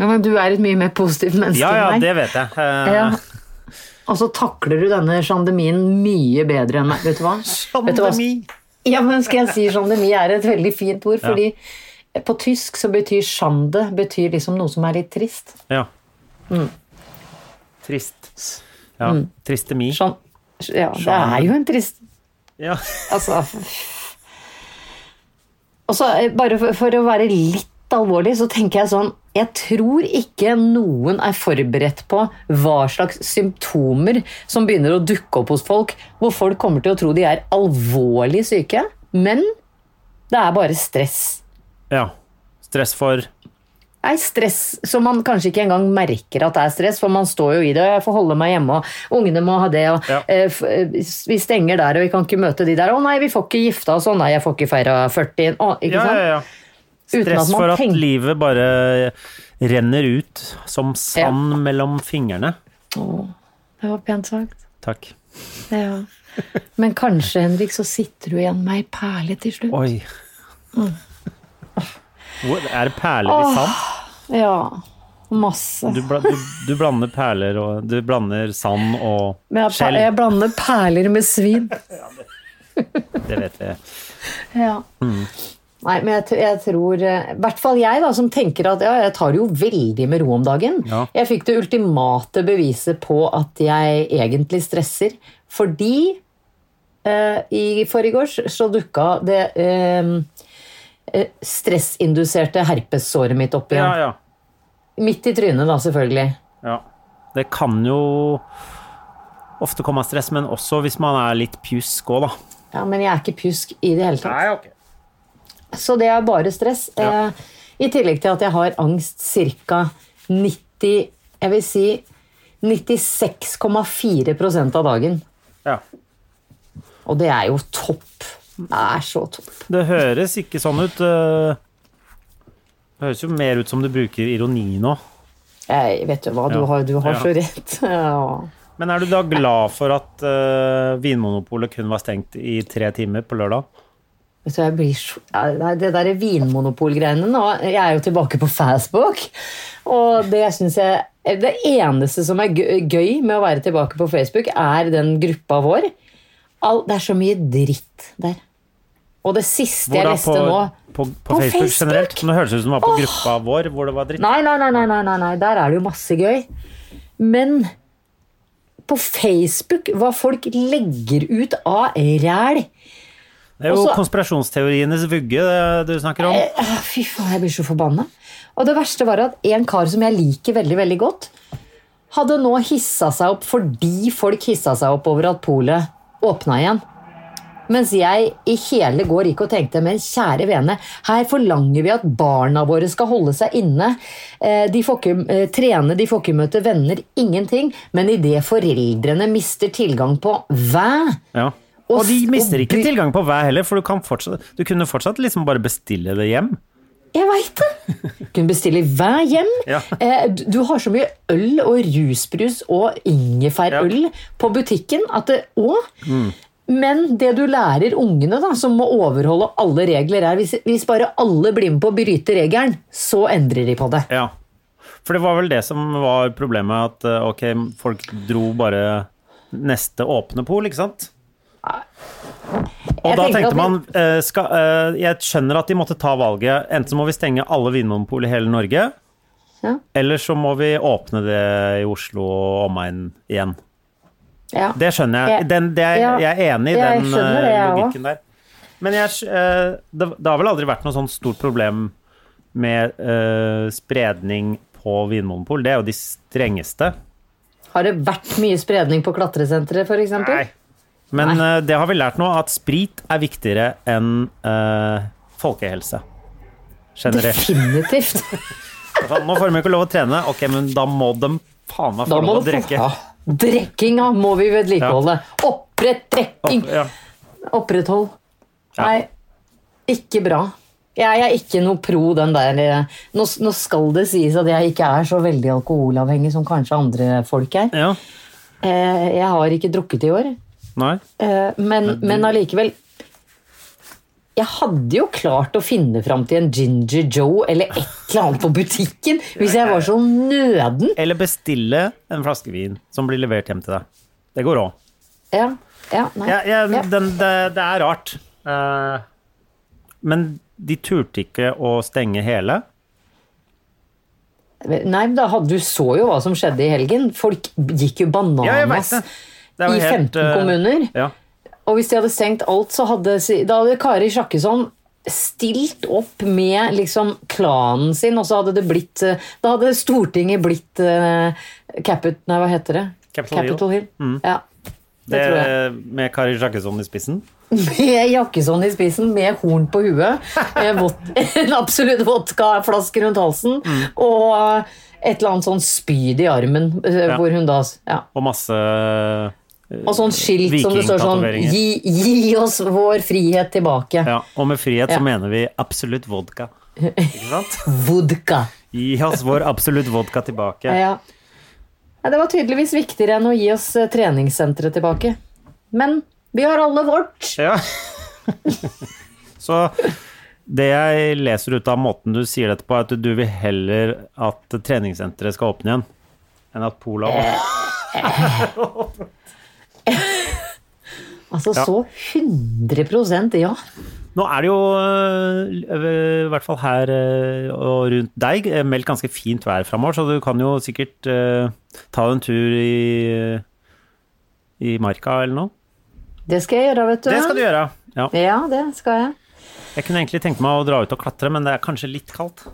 Speaker 1: Ja, men du er et mye mer positivt menneske
Speaker 2: Ja, ja,
Speaker 1: enn meg.
Speaker 2: det vet jeg. Eh,
Speaker 1: Ja. Og så takler du denne sandemien mye bedre enn meg. Vet du hva? Vet du hva?
Speaker 2: Pandemi.
Speaker 1: Ja, men skal jeg si sandemi er et veldig fint ord, fordi på tysk så betyr sjande betyr liksom noe som er litt trist.
Speaker 2: Ja.
Speaker 1: Mm.
Speaker 2: Trist. Ja. Tristemi.
Speaker 1: Sjan- ja, det er jo en trist
Speaker 2: Ja.
Speaker 1: Altså f- Og så eh, bare for, for å være litt alvorlig, så tenker jeg sånn Jeg tror ikke noen er forberedt på hva slags symptomer som begynner å dukke opp hos folk, hvor folk kommer til å tro de er alvorlig syke, men det er bare stress.
Speaker 2: ja. Stress for
Speaker 1: Det er stress som man kanskje ikke engang merker at det er stress, for man står jo i det. og Jeg får holde meg hjemme, og ungene må ha det, og
Speaker 2: Ja.
Speaker 1: eh, f- eh, vi stenger der, og vi kan ikke møte de der. Å nei, vi får ikke gifta oss, å nei, jeg får ikke feira 40 å, Ikke
Speaker 2: Ja,
Speaker 1: sant?
Speaker 2: ja, ja.
Speaker 1: Uten
Speaker 2: Stress
Speaker 1: at man
Speaker 2: for at
Speaker 1: tenker-
Speaker 2: livet bare renner ut som sand mellom fingrene.
Speaker 1: Det var pent sagt.
Speaker 2: Takk.
Speaker 1: Ja. Men kanskje, Henrik, så sitter du igjen med ei perle til slutt.
Speaker 2: Oi.
Speaker 1: Mm.
Speaker 2: Hvor- Er det perler i sand?
Speaker 1: Ja. Masse.
Speaker 2: Du, bla, du, du blander perler og Du blander sand og
Speaker 1: Men jeg,
Speaker 2: skjell.
Speaker 1: jeg blander perler med svin.
Speaker 2: Det vet jeg.
Speaker 1: Ja.
Speaker 2: Mm.
Speaker 1: Nei, men jeg, t- jeg tror eh, I hvert fall jeg, da, som tenker at ja, jeg tar det jo veldig med ro om dagen.
Speaker 2: Ja.
Speaker 1: Jeg fikk det ultimate beviset på at jeg egentlig stresser. Fordi eh, i forgårs så dukka det eh, eh, stressinduserte herpessåret mitt opp
Speaker 2: Ja,
Speaker 1: igjen.
Speaker 2: ja.
Speaker 1: Midt i trynet, da, selvfølgelig.
Speaker 2: ja. Det kan jo ofte komme av stress, men også hvis man er litt pjusk òg, da.
Speaker 1: Ja, Men jeg er ikke pjusk i det hele tatt.
Speaker 2: ok.
Speaker 1: Så det er bare stress.
Speaker 2: Ja.
Speaker 1: Eh, I tillegg til at jeg har angst ca. 90 Jeg vil si 96,4 av dagen.
Speaker 2: Ja.
Speaker 1: Og det er jo topp. Det er så topp.
Speaker 2: Det høres ikke sånn ut. eh. Det høres jo mer ut som du bruker ironi nå.
Speaker 1: Jeg vet du hva, du
Speaker 2: Ja.
Speaker 1: har, du har
Speaker 2: Ja.
Speaker 1: så rett. Ja.
Speaker 2: Men er du da glad for at eh, Vinmonopolet kun var stengt i tre timer på lørdag?
Speaker 1: Vet du, jeg blir så, Nei, det der vinmonopolgreiene nå Jeg er jo tilbake på Facebook. Og det synes jeg Det eneste som er gøy gøy med å være tilbake på Facebook, er den gruppa vår. All, det er så mye dritt der. Og det siste
Speaker 2: Hvor
Speaker 1: jeg
Speaker 2: da?
Speaker 1: leste
Speaker 2: på,
Speaker 1: nå
Speaker 2: på, på, Facebook, generelt? Nå høres det ut som det var på gruppa vår hvor det var dritt.
Speaker 1: nei nei, nei, nei, nei, nei, nei, der er det jo masse gøy. Men på Facebook, hva folk legger ut av ræl
Speaker 2: Det er jo
Speaker 1: også-
Speaker 2: konspirasjonsteorienes vugge det du snakker om.
Speaker 1: Eh, Fy faen, jeg blir så forbanna. Og det verste var at en kar som jeg liker veldig, veldig godt hadde nå hissa seg opp fordi folk hissa seg opp over at polet åpna igjen. Mens jeg i hele går gikk og tenkte, men kjære vene, her forlanger vi at barna våre skal holde seg inne. Eh, De får ikke eh, trene, de får ikke møte venner, ingenting. Men idet foreldrene mister tilgang på væ
Speaker 2: Ja.
Speaker 1: Og
Speaker 2: Og de
Speaker 1: s-
Speaker 2: mister
Speaker 1: og
Speaker 2: ikke
Speaker 1: by-
Speaker 2: tilgang på hver heller, for du, kan fortsatt, du kunne fortsatt liksom bare bestille det hjem.
Speaker 1: Jeg veit det! Du kan bestille hver hjem.
Speaker 2: Ja.
Speaker 1: Eh, Du du har så mye øl og rusbrus og ingefærøl på butikken at det òg
Speaker 2: Mm.
Speaker 1: Men det du lærer ungene, da, som må overholde alle regler, er hvis, hvis bare alle blir med på å bryte regelen, så endrer de på det.
Speaker 2: Ja. For det var vel det som var problemet, at eh, ok, folk dro bare neste åpne pol, ikke sant? Og
Speaker 1: Jeg tenker
Speaker 2: da
Speaker 1: at
Speaker 2: tenkte
Speaker 1: vi-
Speaker 2: man eh, skal, eh, Jeg skjønner at de måtte ta valget. Enten må vi stenge alle vinmonopol i hele Norge,
Speaker 1: Ja.
Speaker 2: eller så må vi åpne det i Oslo og omegn igjen.
Speaker 1: Ja.
Speaker 2: Det skjønner jeg.
Speaker 1: Jeg-
Speaker 2: Den, det er,
Speaker 1: ja,
Speaker 2: jeg er enig i
Speaker 1: jeg
Speaker 2: den
Speaker 1: skjønner det,
Speaker 2: eh,
Speaker 1: jeg
Speaker 2: logikken der. Men jeg, skj- eh, det, det har vel aldri vært noe sånt stort problem med eh, spredning på Vinmonopol. Det er jo de strengeste.
Speaker 1: Har det vært mye spredning på klatresenteret, f.eks.?
Speaker 2: Men eh, det har vi lært nå, at sprit er viktigere enn eh, folkehelse. Generelt.
Speaker 1: Definitivt.
Speaker 2: Faen, Nå får de ikke lov å trene. Ok, men da må de faen meg få
Speaker 1: Da må
Speaker 2: lov å
Speaker 1: du få-
Speaker 2: drikke.
Speaker 1: Ja. Drikkinga må vi vedlikeholde. Opprett
Speaker 2: Opp,
Speaker 1: drekking!
Speaker 2: ja.
Speaker 1: Oppretthold.
Speaker 2: Ja.
Speaker 1: Nei, ikke bra. Jeg er ikke noe pro den der eh, nå, nå skal det sies at jeg ikke er så veldig alkoholavhengig som kanskje andre folk er.
Speaker 2: ja.
Speaker 1: Eh, Jeg har ikke drukket i år,
Speaker 2: Nei.
Speaker 1: eh, men, men allikevel Jeg hadde jo klart å finne fram til en Ginger Joe eller et eller annet på butikken hvis jeg var så nøden.
Speaker 2: Eller bestille en flaske vin som blir levert hjem til deg. Det går òg.
Speaker 1: Ja, ja, nei.
Speaker 2: Ja, ja,
Speaker 1: Ja.
Speaker 2: den, det, det er rart. Eh, men de turte ikke å stenge hele.
Speaker 1: Nei, men da hadde, du så jo hva som skjedde i helgen. Folk gikk jo
Speaker 2: Ja, jeg
Speaker 1: bananas.
Speaker 2: vet det. Det er jo
Speaker 1: I 15
Speaker 2: eh,
Speaker 1: kommuner?
Speaker 2: Ja.
Speaker 1: Og hvis de hadde stengt alt, så hadde, da hadde Kari Sjakkesson stilt opp med liksom klanen sin, og så hadde det blitt eh, Da hadde Stortinget blitt eh, Capit... Nei, hva heter det?
Speaker 2: Capitol Hill. Mm.
Speaker 1: Ja. Det,
Speaker 2: Det,
Speaker 1: tror jeg.
Speaker 2: med Kari Jakkesson i spissen.
Speaker 1: Med Jakkesson i spissen, med horn på huet, eh, vod- en absolutt vodkaflaske rundt halsen
Speaker 2: Mm.
Speaker 1: og et eller annet sånn spyd i armen, eh,
Speaker 2: Ja.
Speaker 1: hvor hun da ja.
Speaker 2: Og masse eh,
Speaker 1: Og sånn skilt som det står sånn
Speaker 2: vikingtatoveringer.
Speaker 1: gi, gi oss vår frihet tilbake.
Speaker 2: Ja, og med frihet
Speaker 1: Ja.
Speaker 2: så mener vi absolutt vodka. Ikke sant?
Speaker 1: Vodka.
Speaker 2: Gi oss vår absolutt vodka tilbake.
Speaker 1: Ja. Ja, Det var tydeligvis viktigere enn å gi oss eh, treningssenteret tilbake. Men vi har alle vårt.
Speaker 2: Ja. Så det jeg leser ut av måten du sier dette på, er at du vil heller at treningssenteret skal åpne igjen, enn at Pola
Speaker 1: Altså
Speaker 2: Ja.
Speaker 1: så 100 ja.
Speaker 2: Nå er det jo, øh, øh, i hvert fall her øh, og rundt deg, øh, meldt ganske fint vær framover, så du kan jo sikkert øh, ta en tur i, i marka eller noe.
Speaker 1: Det skal jeg gjøre, vet du.
Speaker 2: Det skal du gjøre. Ja.
Speaker 1: Ja, det skal jeg.
Speaker 2: Jeg kunne egentlig tenkt meg å dra ut og klatre, men det er kanskje litt kaldt.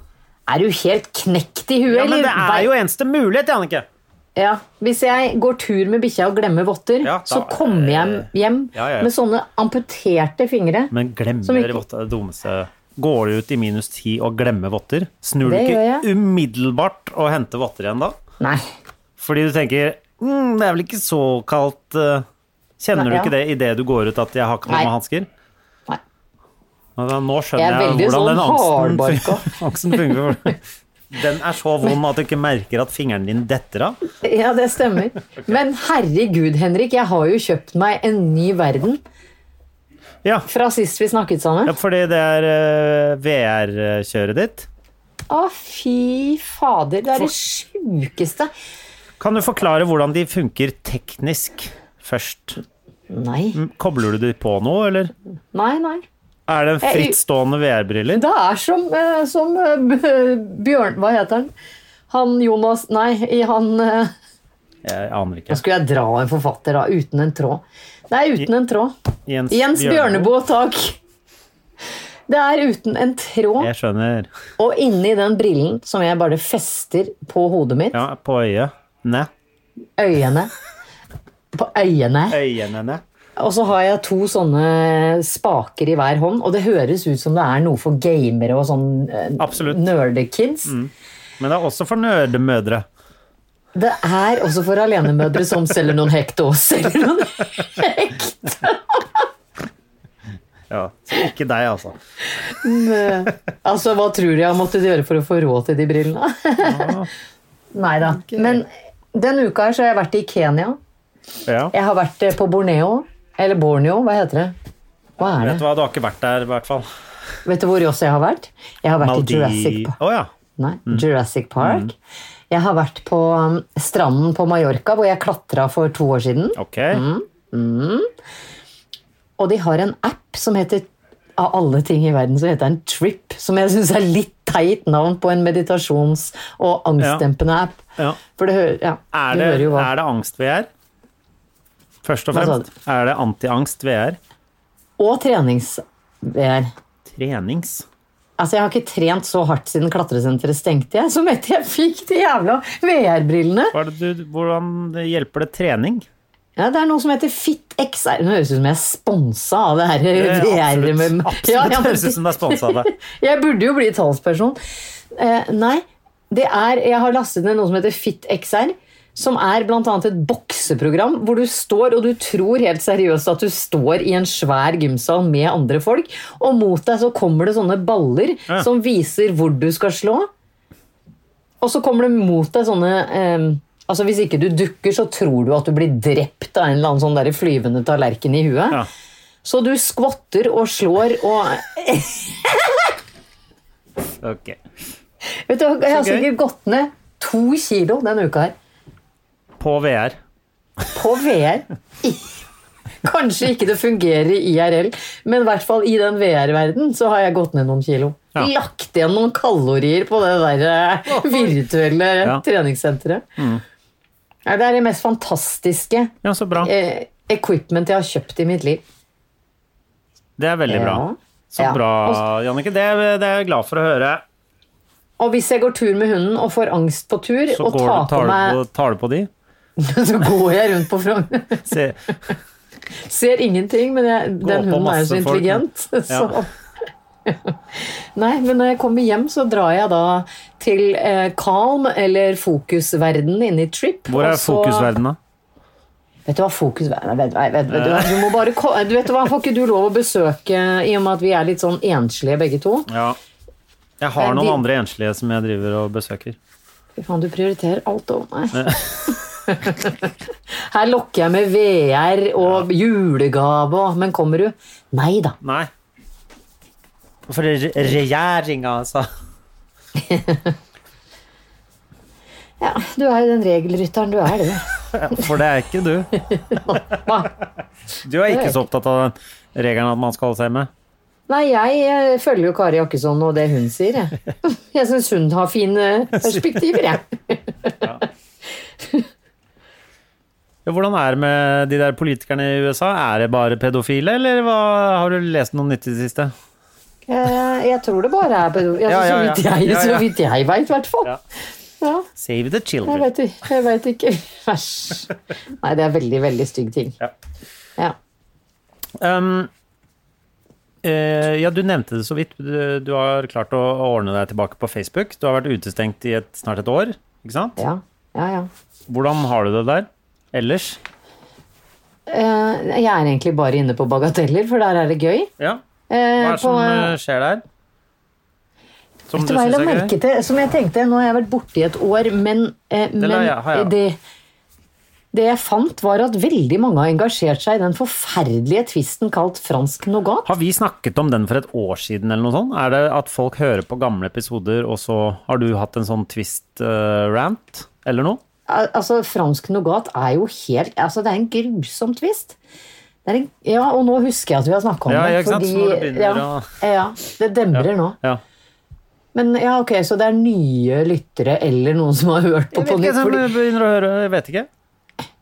Speaker 1: Er du helt knekt i huet?
Speaker 2: Ja, men
Speaker 1: eller?
Speaker 2: det er jo eneste mulighet, Jannicke.
Speaker 1: ja, Hvis jeg går tur med bikkja og glemmer votter,
Speaker 2: Ja, da-
Speaker 1: så kommer jeg hjem
Speaker 2: Ja, ja, ja.
Speaker 1: med sånne amputerte fingre. Som
Speaker 2: Men glemmer
Speaker 1: ikke-
Speaker 2: votter, dummeste. Går du ut i minus ti og glemmer votter? Snur du
Speaker 1: Det gjør
Speaker 2: ikke umiddelbart og henter votter igjen da?
Speaker 1: Nei.
Speaker 2: Fordi du tenker mm, det er vel ikke så kaldt eh, Kjenner
Speaker 1: Nei,
Speaker 2: du
Speaker 1: ja.
Speaker 2: ikke det idet du går ut at jeg har ikke noe
Speaker 1: Nei.
Speaker 2: med hansker?
Speaker 1: Nei.
Speaker 2: Nå
Speaker 1: Jeg
Speaker 2: skjønner
Speaker 1: er
Speaker 2: jeg,
Speaker 1: veldig
Speaker 2: hvordan den
Speaker 1: sånn
Speaker 2: angsten, angsten fungerer. Den er så vond at du ikke merker at fingeren din detter av.
Speaker 1: Ja, det stemmer. Men herregud, Henrik, jeg har jo kjøpt meg en ny verden
Speaker 2: Ja,
Speaker 1: fra sist vi snakket sammen.
Speaker 2: ja, fordi det er VR-kjøret ditt.
Speaker 1: Å, fy fader. Det er det sjukeste.
Speaker 2: Kan du forklare hvordan de funker teknisk først?
Speaker 1: Nei.
Speaker 2: Kobler du de på noe, eller?
Speaker 1: Nei, nei.
Speaker 2: Er det
Speaker 1: Jeg-
Speaker 2: frittstående VR-briller?
Speaker 1: Det er som, eh, som eh, b- Bjørn Hva heter han? Han Jonas Nei, i han eh,
Speaker 2: Jeg aner
Speaker 1: Nå
Speaker 2: ikke.
Speaker 1: skulle jeg dra en forfatter, da. Uten en tråd. Det er uten en tråd. Jens Bjørneboe, takk. Det er uten en tråd.
Speaker 2: Jeg skjønner.
Speaker 1: Og inni den brillen som jeg bare fester på hodet mitt,
Speaker 2: Ja, på øyet. Nei.
Speaker 1: Øyene. På øyene.
Speaker 2: Øyene henne.
Speaker 1: Og så har jeg to sånne spaker i hver hånd, og det høres ut som det er noe for gamere og sånn eh,
Speaker 2: Absolutt.
Speaker 1: nerdekids.
Speaker 2: Men det er også for nerdemødre.
Speaker 1: Det er også for alenemødre som selger noen hekto. Selger noen hekto.
Speaker 2: Ja, så ikke deg, altså.
Speaker 1: Altså, hva tror du jeg måtte gjøre for å få råd til de brillene? Nei da. Men denne uka her så har jeg vært i Kenya.
Speaker 2: Ja.
Speaker 1: Jeg har vært eh, på Borneo. Eller Borneo, hva heter det? Hva er
Speaker 2: Vet du
Speaker 1: det?
Speaker 2: hva, du har ikke vært der, i hvert fall.
Speaker 1: Vet du hvor også jeg har vært? Jeg har vært i Jurassic Park.
Speaker 2: Å ja.
Speaker 1: Nei,
Speaker 2: Mm.
Speaker 1: Jurassic Park. Jeg har vært på um, stranden på Mallorca, hvor jeg klatra for to år siden.
Speaker 2: Ok.
Speaker 1: Mm. Og de har en app som heter Av alle ting i verden så heter den Trip. Som jeg syns er litt teit navn på en meditasjons- og angstdempende app.
Speaker 2: Ja.
Speaker 1: For det hører Ja,
Speaker 2: Er
Speaker 1: du
Speaker 2: det,
Speaker 1: hører jo hva.
Speaker 2: er det angst VR? Først og
Speaker 1: Hva sa
Speaker 2: fremst. Er det antiangst VR?
Speaker 1: Og trenings-VR.
Speaker 2: Trenings?
Speaker 1: Altså, Jeg har ikke trent så hardt siden klatresenteret stengte, jeg, som etter jeg fikk de jævla VR-brillene.
Speaker 2: Hva er det du, hvordan hjelper det trening?
Speaker 1: Ja, Det er noe som heter FitXR. Nå høres det ut som jeg er sponsa av det her.
Speaker 2: Det er
Speaker 1: VR
Speaker 2: absolutt,
Speaker 1: med-
Speaker 2: absolutt
Speaker 1: Ja, ja, men-
Speaker 2: høres ut som det er sponsa av deg.
Speaker 1: Jeg burde jo bli talsperson. Eh, nei, det er, jeg har lastet ned noe som heter FitXR. Som er bl.a. et bokseprogram hvor du står og du tror helt seriøst at du står i en svær gymsal med andre folk, og mot deg så kommer det sånne baller
Speaker 2: Ja.
Speaker 1: som viser hvor du skal slå. Og så kommer det mot deg sånne eh, Altså Hvis ikke du dukker, så tror du at du blir drept av en eller annen sånn der flyvende tallerken i huet.
Speaker 2: Ja.
Speaker 1: Så du skvatter og slår og
Speaker 2: Ok.
Speaker 1: Vet du, hva, jeg har
Speaker 2: Så gøy.
Speaker 1: sikkert gått ned to kilo denne uka her.
Speaker 2: På VR.
Speaker 1: På VR. I- Kanskje ikke det fungerer i IRL, men i hvert fall i den VR-verden så har jeg gått ned noen kilo.
Speaker 2: Ja.
Speaker 1: Lagt igjen noen kalorier på det der eh, virtuelle
Speaker 2: Ja. Mm.
Speaker 1: treningssenteret. Ja, det er det mest fantastiske
Speaker 2: Ja, så bra.
Speaker 1: eh, equipment jeg har kjøpt i mitt liv.
Speaker 2: Det er veldig bra.
Speaker 1: Ja.
Speaker 2: Så
Speaker 1: Ja.
Speaker 2: bra,
Speaker 1: Og så-
Speaker 2: Jannicke. Det, det er jeg glad for å høre.
Speaker 1: Og hvis jeg går tur med hunden og får angst på tur,
Speaker 2: Så
Speaker 1: Eh, og
Speaker 2: går
Speaker 1: tar på
Speaker 2: du, tar, du
Speaker 1: meg
Speaker 2: på, tar du på de?
Speaker 1: Så går jeg rundt på Frogner.
Speaker 2: Se,
Speaker 1: Ser ingenting, men jeg, den
Speaker 2: på
Speaker 1: hunden er jo så
Speaker 2: masse folk.
Speaker 1: intelligent.
Speaker 2: Ja.
Speaker 1: Så. Nei, men når jeg kommer hjem, så drar jeg da til eh, Calm, eller fokusverden inne i Trip.
Speaker 2: hvor
Speaker 1: og
Speaker 2: er
Speaker 1: så-
Speaker 2: fokusverdenen, da?
Speaker 1: Vet du hva fokusverden vet, vet, vet,
Speaker 2: Eh.
Speaker 1: vet, du hva, du må bare, ko- du vet hva, Får ikke du lov å besøke, i og med at vi er litt sånn enslige begge to?
Speaker 2: Ja. Jeg har
Speaker 1: Men
Speaker 2: noen
Speaker 1: de-
Speaker 2: andre enslige som jeg driver og besøker.
Speaker 1: Fy faen, du prioriterer alt over
Speaker 2: Eh.
Speaker 1: meg. Her lokker jeg med VR og julegave, og- men kommer du? Nei da.
Speaker 2: Nei. For re- regjeringa, altså.
Speaker 1: Ja, du er jo den regelrytteren du er, du.
Speaker 2: For det er ikke du.
Speaker 1: Hva?
Speaker 2: Du er ikke
Speaker 1: Det er
Speaker 2: så opptatt av den regelen at man skal holde seg med.
Speaker 1: Nei, jeg eh, følger jo Kari Jakkesson og det hun sier. Jeg, jeg syns hun har fine perspektiver, jeg.
Speaker 2: Ja, Hvordan er det med de der politikerne i USA? Er det bare pedofile, eller hva? har du lest noe nytt i det siste?
Speaker 1: Eh, Jeg tror det bare er pedo... Ja,
Speaker 2: Ja, ja,
Speaker 1: så
Speaker 2: ja.
Speaker 1: vidt jeg,
Speaker 2: Ja, ja.
Speaker 1: så vidt jeg veit, i hvert fall.
Speaker 2: Ja.
Speaker 1: Ja,
Speaker 2: Save the
Speaker 1: jeg
Speaker 2: children.
Speaker 1: veit jeg vet ikke. Æsj. Nei, det er veldig, veldig stygg ting.
Speaker 2: Ja.
Speaker 1: Ja.
Speaker 2: Um, eh, ja, du nevnte det så vidt. Du, du har klart å å ordne deg tilbake på Facebook. Du har vært utestengt i et, snart et år, ikke sant?
Speaker 1: Ja, ja. ja.
Speaker 2: Hvordan har du det der ellers?
Speaker 1: Eh, Jeg er egentlig bare inne på bagateller, for der er det gøy.
Speaker 2: Ja.
Speaker 1: Eh,
Speaker 2: Hva er det som
Speaker 1: på, eh,
Speaker 2: eh, skjer der? Som
Speaker 1: Vet
Speaker 2: du
Speaker 1: du hva jeg
Speaker 2: syns
Speaker 1: la
Speaker 2: er
Speaker 1: merke
Speaker 2: gøy?
Speaker 1: til? Som jeg tenkte, nå har jeg vært borte i et år, men, eh,
Speaker 2: la
Speaker 1: men
Speaker 2: jeg- har jeg.
Speaker 1: det det jeg fant, var at veldig mange har engasjert seg i den forferdelige tvisten kalt fransk nougat.
Speaker 2: Har vi snakket om den for et år siden, eller noe sånt? Er det at folk hører på gamle episoder, og så har du hatt en sånn twist-rant, eller noe?
Speaker 1: Al- Altså, fransk nougat er jo helt Altså, det er en grusom tvist. Det er en, ja, og nå husker jeg at vi har snakka om
Speaker 2: Ja,
Speaker 1: det.
Speaker 2: ja, ikke sant? Så
Speaker 1: fordi-
Speaker 2: når det begynner
Speaker 1: ja,
Speaker 2: å-
Speaker 1: ja, det demrer nå.
Speaker 2: Ja.
Speaker 1: Men ja, ok, så det er nye lyttere eller noen som har hørt på
Speaker 2: Jeg
Speaker 1: på
Speaker 2: vet
Speaker 1: nytt?
Speaker 2: ikke,
Speaker 1: fordi-
Speaker 2: jeg begynner å høre, jeg vet ikke.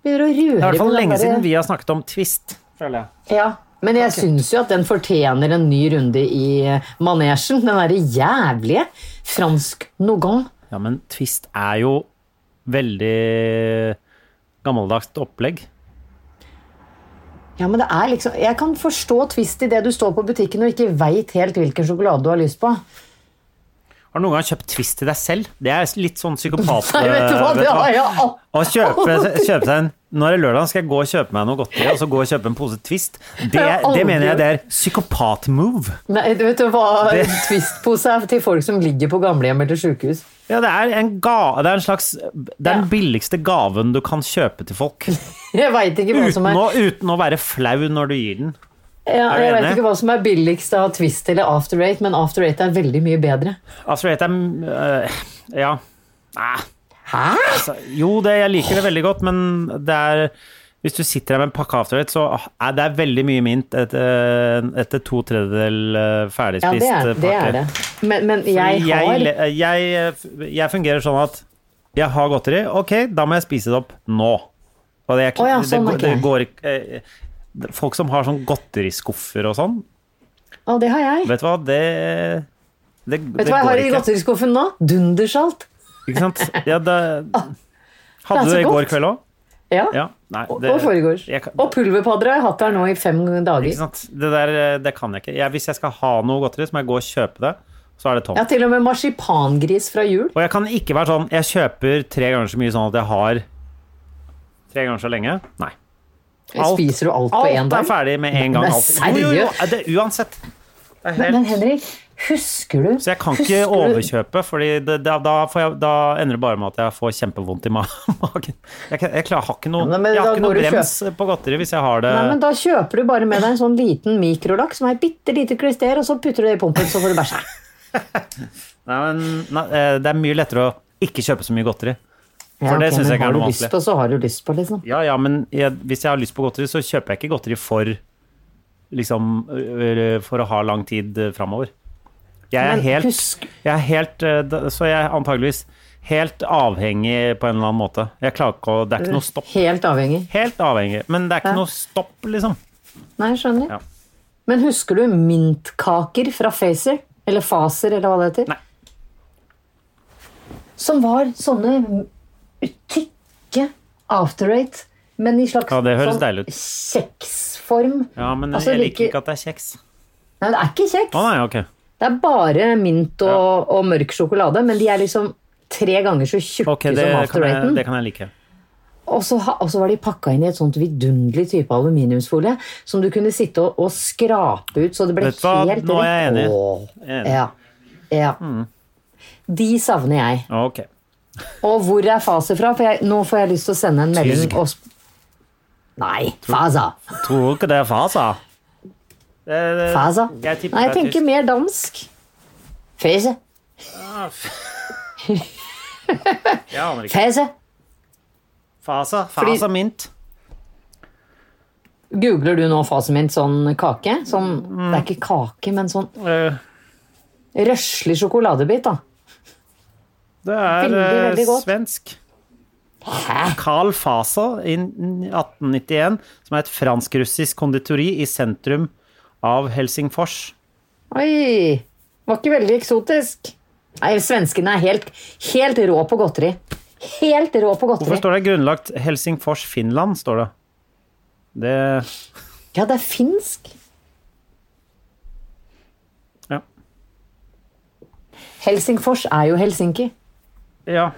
Speaker 1: Begynner å røre
Speaker 2: Det er i hvert fall
Speaker 1: på den
Speaker 2: lenge
Speaker 1: der-
Speaker 2: siden vi har snakket om twist, føler jeg.
Speaker 1: Ja, men jeg syns jo at den fortjener en ny runde i eh, manesjen. Den derre jævlige fransk nougat.
Speaker 2: Ja, men twist er jo veldig gammeldags opplegg.
Speaker 1: Ja, men det er liksom Jeg kan forstå twist i det du står på butikken og ikke veit helt hvilken sjokolade du har lyst på.
Speaker 2: Har du noen gang kjøpt Twist til deg selv? Det er litt sånn psykopat...
Speaker 1: Nei, vet du hva,
Speaker 2: Eh, vet
Speaker 1: det
Speaker 2: du hva?
Speaker 1: har jeg al-
Speaker 2: Å kjøpe, kjøpe seg en Nå er det lørdag, skal jeg gå og kjøpe meg noe godteri, og så gå og kjøpe en pose Twist. Det,
Speaker 1: har aldri
Speaker 2: det mener jeg det er psykopat-move.
Speaker 1: Nei, du vet du hva
Speaker 2: Det-
Speaker 1: Twist-pose er til folk som ligger på gamlehjem eller sjukehus.
Speaker 2: Ja, det er en ga, Det er en slags Det er den
Speaker 1: Ja.
Speaker 2: billigste gaven du kan kjøpe til folk.
Speaker 1: Jeg veit ikke hva som
Speaker 2: Uten
Speaker 1: er
Speaker 2: å, uten å være flau når du gir den.
Speaker 1: ja,
Speaker 2: er du
Speaker 1: Jeg vet
Speaker 2: enig?
Speaker 1: ikke hva som er billigst av Twist eller After Eight, men After Eight er veldig mye bedre.
Speaker 2: Altså, det er øh, Ja. Nei. Altså, jo, det, jeg liker det veldig godt, men det er Hvis du sitter her med en pakke afterrett, så er det er veldig mye mint etter, etter to tredjedel øh,
Speaker 1: Ja,
Speaker 2: ferdigspist
Speaker 1: det er
Speaker 2: pakke.
Speaker 1: det. Er det. Men, men jeg har
Speaker 2: jeg, jeg, jeg fungerer sånn at jeg har godteri, ok, da må jeg spise det opp nå. Og det, er, ikke-
Speaker 1: Å ja, sånn,
Speaker 2: det, går- det
Speaker 1: ok.
Speaker 2: går ikke eh, det- Folk som har sånn godteriskuffer og sånn,
Speaker 1: Å, det har jeg.
Speaker 2: vet du hva, det det,
Speaker 1: Vet
Speaker 2: det
Speaker 1: du hva jeg
Speaker 2: går
Speaker 1: har i
Speaker 2: ikke.
Speaker 1: godteriskuffen nå? Dundersalt.
Speaker 2: Ikke sant? Ja, det, hadde
Speaker 1: så
Speaker 2: du det i går
Speaker 1: godt.
Speaker 2: kveld òg?
Speaker 1: Ja.
Speaker 2: Ja. Nei,
Speaker 1: Og-
Speaker 2: det,
Speaker 1: og foregårs.
Speaker 2: jeg kan-
Speaker 1: Og pulverpadder har jeg hatt her nå i fem
Speaker 2: Ikke
Speaker 1: dager.
Speaker 2: sant? Det der eh, det kan jeg ikke. Jeg, hvis jeg skal ha noe godteri, så må jeg gå og kjøpe det. Så er det tomt.
Speaker 1: Ja, til og med marsipangris fra jul.
Speaker 2: Og jeg kan ikke være sånn Jeg kjøper tre ganger så mye sånn at jeg har tre ganger så lenge. Nei. Alt-
Speaker 1: Spiser du alt på én
Speaker 2: Alt
Speaker 1: dag?
Speaker 2: er ferdig med en gang.
Speaker 1: Men
Speaker 2: alt. Jo, jo, jo, det, uansett. Det er
Speaker 1: Men,
Speaker 2: helt,
Speaker 1: men Henrik, husker du
Speaker 2: så jeg kan ikke
Speaker 1: husker du-
Speaker 2: overkjøpe, for da, da, får jeg- da ender det bare med at jeg får kjempevondt i ma magen. Jeg, kan- jeg, klarer- jeg har ikke noe,
Speaker 1: Ja, men
Speaker 2: jeg har
Speaker 1: da
Speaker 2: ikke
Speaker 1: går
Speaker 2: noe
Speaker 1: du kjøp-
Speaker 2: brems på godteri hvis jeg har det
Speaker 1: Nei, men Da kjøper du bare med deg en sånn liten mikrolaks som er et bitte lite klister, og så putter du det i pumpen, så får du bæsja.
Speaker 2: Nei, men nei, eh, det er mye lettere å ikke kjøpe så mye godteri. For
Speaker 1: Ja,
Speaker 2: det
Speaker 1: ok,
Speaker 2: syns
Speaker 1: men
Speaker 2: jeg ikke
Speaker 1: har
Speaker 2: er
Speaker 1: du
Speaker 2: noe
Speaker 1: lyst
Speaker 2: vanskelig.
Speaker 1: på, så har du lyst på, liksom.
Speaker 2: Ja, ja, men jeg, hvis jeg har lyst på godteri, så kjøper jeg ikke godteri for liksom øh, øh, For å ha lang tid øh, framover. Jeg er
Speaker 1: Men
Speaker 2: helt,
Speaker 1: husk-
Speaker 2: jeg er helt øh, da- Så jeg er antageligvis helt avhengig på en eller annen måte. Jeg klarer ikke å Det er ikke noe stopp.
Speaker 1: Helt avhengig.
Speaker 2: Helt avhengig, men det er
Speaker 1: Ja.
Speaker 2: ikke noe stopp, liksom.
Speaker 1: Nei, skjønner.
Speaker 2: Ja.
Speaker 1: Men husker du mintkaker fra Facer? Eller Faser, eller hva det heter?
Speaker 2: Nei.
Speaker 1: Som var sånne tykke after-rate, men i slags
Speaker 2: Ja, det høres
Speaker 1: sånn
Speaker 2: deilig ut.
Speaker 1: kjeksform.
Speaker 2: Ja, men
Speaker 1: Altså,
Speaker 2: jeg liker
Speaker 1: like-
Speaker 2: ikke at det er kjeks.
Speaker 1: Nei, det er ikke kjeks.
Speaker 2: Å nei, ok.
Speaker 1: Det er bare mint og, og mørk sjokolade, men de er liksom tre ganger så tjukke
Speaker 2: Ok, det
Speaker 1: som
Speaker 2: kan, jeg,
Speaker 1: after-raten.
Speaker 2: det kan jeg like.
Speaker 1: Og så, ha- og så var de pakka inn i et sånt vidunderlig type aluminiumsfolie som du kunne sitte og, og skrape ut så det ble
Speaker 2: Vet du hva?
Speaker 1: helt
Speaker 2: Nå er jeg enig.
Speaker 1: Åh.
Speaker 2: Jeg er enig. Mm.
Speaker 1: Ja. ja. De savner jeg.
Speaker 2: Ok.
Speaker 1: Og hvor er Faser fra? For jeg, nå får jeg lyst til å sende en melding
Speaker 2: Tysk.
Speaker 1: og sp- Nei, Fasa.
Speaker 2: Tror du ikke det er fasa? Eh,
Speaker 1: Fasa.
Speaker 2: Jeg tipper
Speaker 1: Nei, jeg
Speaker 2: det er
Speaker 1: tenker
Speaker 2: tysk.
Speaker 1: mer dansk. Fese.
Speaker 2: Jeg aner ikke.
Speaker 1: Fese.
Speaker 2: Fasa,
Speaker 1: Fordi-
Speaker 2: fasa mint.
Speaker 1: Googler du nå fasen min sånn kake? Sånn, Det er ikke kake, men sånn
Speaker 2: Mm. Eh,
Speaker 1: røslig sjokoladebit, da.
Speaker 2: Det er
Speaker 1: Veldig,
Speaker 2: eh,
Speaker 1: veldig godt.
Speaker 2: svensk. Carl Fasa i 1891, som er et fransk-russisk konditori i sentrum av Helsingfors.
Speaker 1: Oi! Var ikke veldig eksotisk. Nei, svenskene er helt, helt rå på godteri. Helt rå på
Speaker 2: Hvorfor
Speaker 1: godteri.
Speaker 2: står det grunnlagt Helsingfors, Finland? står det. Det
Speaker 1: Ja, det er finsk.
Speaker 2: Ja.
Speaker 1: Helsingfors er jo Helsinki.
Speaker 2: ja.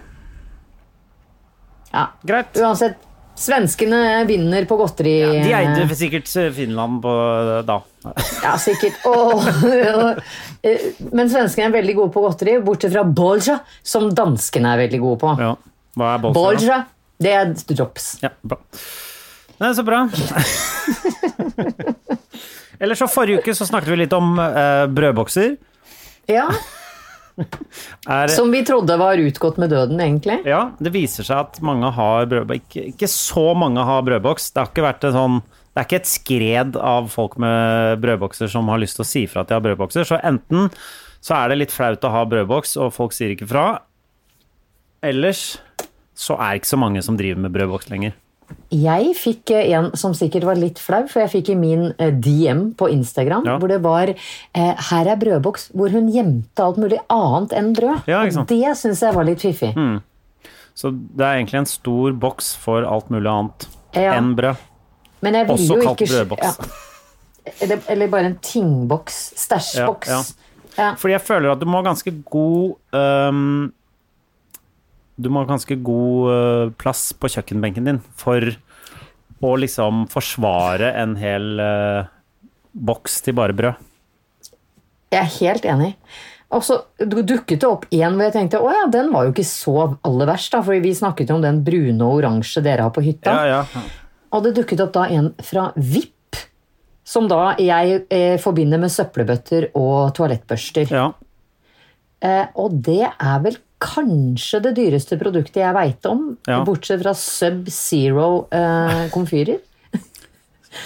Speaker 1: Ja.
Speaker 2: Greit.
Speaker 1: Uansett, svenskene vinner på godteri.
Speaker 2: De
Speaker 1: Eh.
Speaker 2: eide sikkert eh, Finland på, eh, da.
Speaker 1: Ja, sikkert. Og, og, eh, men svenskene er veldig gode på godteri, bortsett fra bolja, som danskene er veldig gode på.
Speaker 2: Ja. Hva er bolsa? da?
Speaker 1: Bolja, det er drops.
Speaker 2: Ja, bra. Nei, så bra. Ellers så forrige uke så snakket vi litt om eh, brødbokser.
Speaker 1: Ja,
Speaker 2: Er,
Speaker 1: Som vi trodde var utgått med døden, egentlig.
Speaker 2: ja, det viser seg at mange har brødboks. Ikke, ikke så mange har brødboks. Det har ikke vært en sånn det er ikke et skred av folk med brødbokser som har lyst til å si fra at de har brødbokser. Så enten så er det litt flaut å ha brødboks, og folk sier ikke fra. Ellers så er det ikke så mange som driver med brødboks lenger.
Speaker 1: Jeg fikk eh, en som sikkert var litt flau, for jeg fikk i min eh, DM på Instagram
Speaker 2: Ja.
Speaker 1: hvor det var eh, 'Her er brødboks', hvor hun gjemte alt mulig annet enn brød.
Speaker 2: Ja, ikke
Speaker 1: Og
Speaker 2: sant. Hmm.
Speaker 1: det syns jeg var litt fiffig.
Speaker 2: Så det er egentlig en stor boks for alt mulig annet
Speaker 1: Ja.
Speaker 2: enn brød.
Speaker 1: Men jeg vil
Speaker 2: Også
Speaker 1: jo
Speaker 2: kalt
Speaker 1: ikke sk-
Speaker 2: brødboks.
Speaker 1: Ja. Eller, eller bare en tingboks. Stæsjboks.
Speaker 2: Ja,
Speaker 1: Ja,
Speaker 2: Fordi jeg føler at du må ha ganske god øhm, Du må ha ganske god øh, plass på kjøkkenbenken din for å liksom forsvare en hel øh, boks til bare brød.
Speaker 1: Jeg er helt enig. Og så du- dukket det opp én hvor jeg tenkte å ja, den var jo ikke så aller verst, da, for vi snakket jo om den brune og oransje dere har på hytta.
Speaker 2: Ja, ja.
Speaker 1: Og det dukket opp da en fra VIP, som da jeg eh, forbinder med søppelbøtter og toalettbørster.
Speaker 2: ja.
Speaker 1: Eh, og det er vel kanskje det dyreste produktet jeg veit om,
Speaker 2: Ja.
Speaker 1: bortsett fra Sub Zero eh, komfyrer.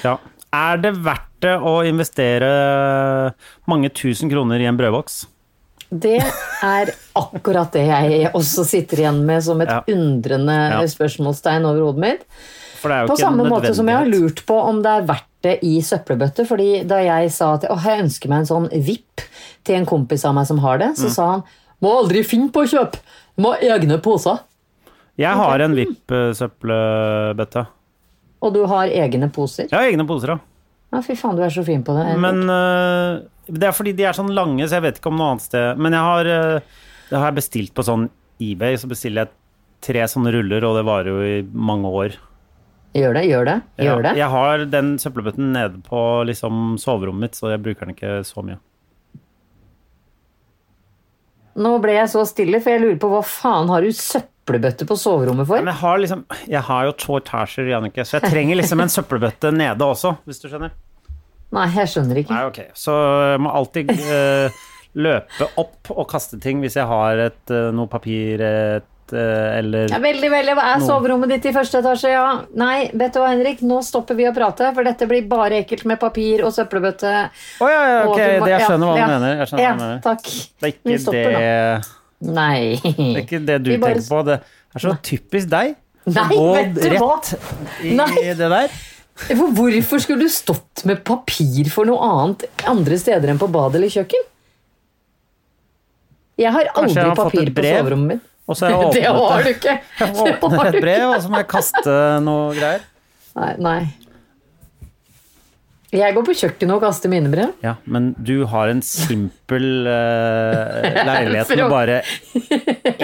Speaker 2: ja. Er det verdt det å investere mange tusen kroner i en brødboks?
Speaker 1: Det er akkurat det jeg også sitter igjen med som et
Speaker 2: Ja.
Speaker 1: undrende
Speaker 2: Ja.
Speaker 1: spørsmålstegn over hodet mitt.
Speaker 2: For det er jo
Speaker 1: På
Speaker 2: ikke en
Speaker 1: samme måte som jeg har
Speaker 2: nødvendighet.
Speaker 1: lurt på om det er verdt det i søppelbøtte. fordi da jeg sa at «Åh, jeg ønsker meg en sånn VIP til en kompis av meg som har det,
Speaker 2: Mm.
Speaker 1: så sa han må aldri finne på å kjøpe, må ha egne poser.
Speaker 2: Jeg har en VIP-søppelbøtte.
Speaker 1: Og du har egne poser.
Speaker 2: Jeg har egne poser, ja.
Speaker 1: Ja, fy faen, du er så fin på det.
Speaker 2: Men øh, det er fordi de er sånn lange, så jeg vet ikke om noe annet sted. Men jeg har, øh, det har jeg bestilt på sånn eBay, så bestiller jeg tre sånne ruller, og det varer jo i mange år.
Speaker 1: Gjør det, gjør det. Gjør det.
Speaker 2: Jeg, jeg har den søppelbøtten nede på liksom, soverommet mitt, så jeg bruker den ikke så mye.
Speaker 1: Nå ble jeg så stille, for jeg lurer på hva faen har du søppelbøtte på soverommet for?
Speaker 2: Men jeg har, liksom, jeg har jo to etasjer, Jannicke, så jeg trenger liksom en søppelbøtte nede også, hvis du skjønner.
Speaker 1: Nei, jeg skjønner ikke.
Speaker 2: Nei, ok. Så jeg må alltid eh, løpe opp og kaste ting hvis jeg har et, eh, noe papir et, eh, eller
Speaker 1: Ja, veldig, veldig. Hva er
Speaker 2: Nå.
Speaker 1: soverommet ditt i første etasje? Ja. Nei, vet du hva, Henrik, nå stopper vi å prate, for dette blir bare ekkelt med papir og søppelbøtte.
Speaker 2: Å ja, ja,
Speaker 1: Og
Speaker 2: ok,
Speaker 1: du må-
Speaker 2: det, jeg
Speaker 1: ja,
Speaker 2: skjønner hva
Speaker 1: ja,
Speaker 2: du mener. Jeg skjønner
Speaker 1: ja,
Speaker 2: hva du mener.
Speaker 1: Takk.
Speaker 2: Det er
Speaker 1: Vi
Speaker 2: ikke det,
Speaker 1: stopper nå. Nei.
Speaker 2: det, er ikke det du
Speaker 1: Vi bare-
Speaker 2: tenker på. Det er så typisk deg. å
Speaker 1: Nei,
Speaker 2: gå
Speaker 1: vet du
Speaker 2: rett i
Speaker 1: Nei.
Speaker 2: det der.
Speaker 1: For hvorfor skulle du stått med papir for noe annet andre steder enn på badet eller kjøkken? Jeg har
Speaker 2: Kanskje
Speaker 1: aldri
Speaker 2: jeg har fått
Speaker 1: papir
Speaker 2: et
Speaker 1: på
Speaker 2: brev?
Speaker 1: soverommet mitt.
Speaker 2: Og så har
Speaker 1: Det
Speaker 2: jeg
Speaker 1: har du
Speaker 2: åpnet,
Speaker 1: ikke.
Speaker 2: det.
Speaker 1: Det
Speaker 2: åpnet
Speaker 1: har du
Speaker 2: et brev,
Speaker 1: ikke.
Speaker 2: og så må jeg kaste noe greier.
Speaker 1: Nei, nei. Jeg går på kjøkkenet og kaster mine brev.
Speaker 2: Ja, men du har en simpel eh, leilighet med bare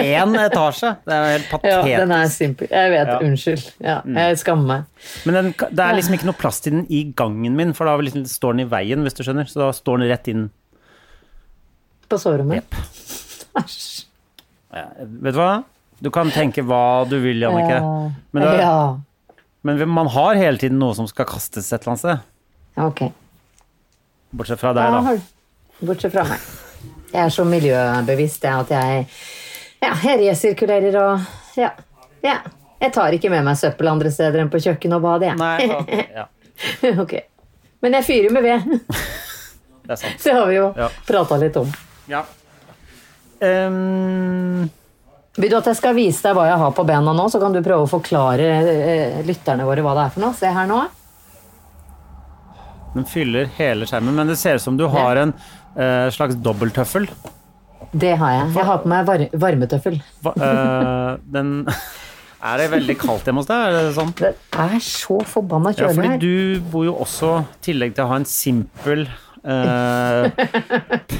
Speaker 2: én etasje. Det er jo helt
Speaker 1: Ja,
Speaker 2: patetisk.
Speaker 1: den er simpel. Jeg vet,
Speaker 2: Ja. Mm.
Speaker 1: unnskyld. Ja, jeg skammer meg.
Speaker 2: Men den, det er liksom ikke noe plass til den i gangen min, for da liksom, står den i veien, hvis du skjønner. Så da står den rett inn.
Speaker 1: På soverommet.
Speaker 2: Jepp.
Speaker 1: Æsj.
Speaker 2: Vet du hva? Du kan tenke hva du vil, Jannicke.
Speaker 1: Ja.
Speaker 2: Men, det-
Speaker 1: ja.
Speaker 2: men man har hele tiden noe som skal kastes et eller annet sted.
Speaker 1: Ok.
Speaker 2: Bortsett fra
Speaker 1: Ja,
Speaker 2: deg, da.
Speaker 1: har du. Bortsett fra meg. Jeg er så miljøbevisst jeg, at jeg, ja, jeg resirkulerer og ja, ja. Jeg tar ikke med meg søppel andre steder enn på kjøkken og badet. jeg.
Speaker 2: Nei, ok, ja,
Speaker 1: Ok. Men jeg fyrer med ved.
Speaker 2: det er sant.
Speaker 1: Det har vi jo
Speaker 2: Ja.
Speaker 1: pratet prata litt om.
Speaker 2: Ja. Ehm,
Speaker 1: Vil du at jeg skal vise deg hva jeg har på bena nå, så kan du prøve å forklare eh, lytterne våre hva det er for noe? Se her nå.
Speaker 2: den fyller hele skjermen, men det ser ut som du har en eh, slags dobbelttøffel.
Speaker 1: Det har jeg. Jeg har på meg var varmetøffel.
Speaker 2: Hva- eh, den Er det veldig kaldt hjemme hos deg? Er det sånn?
Speaker 1: Det er så forbanna
Speaker 2: Ja,
Speaker 1: kjølig
Speaker 2: fordi
Speaker 1: her.
Speaker 2: du bor jo også, i tillegg til å ha en simpel eh,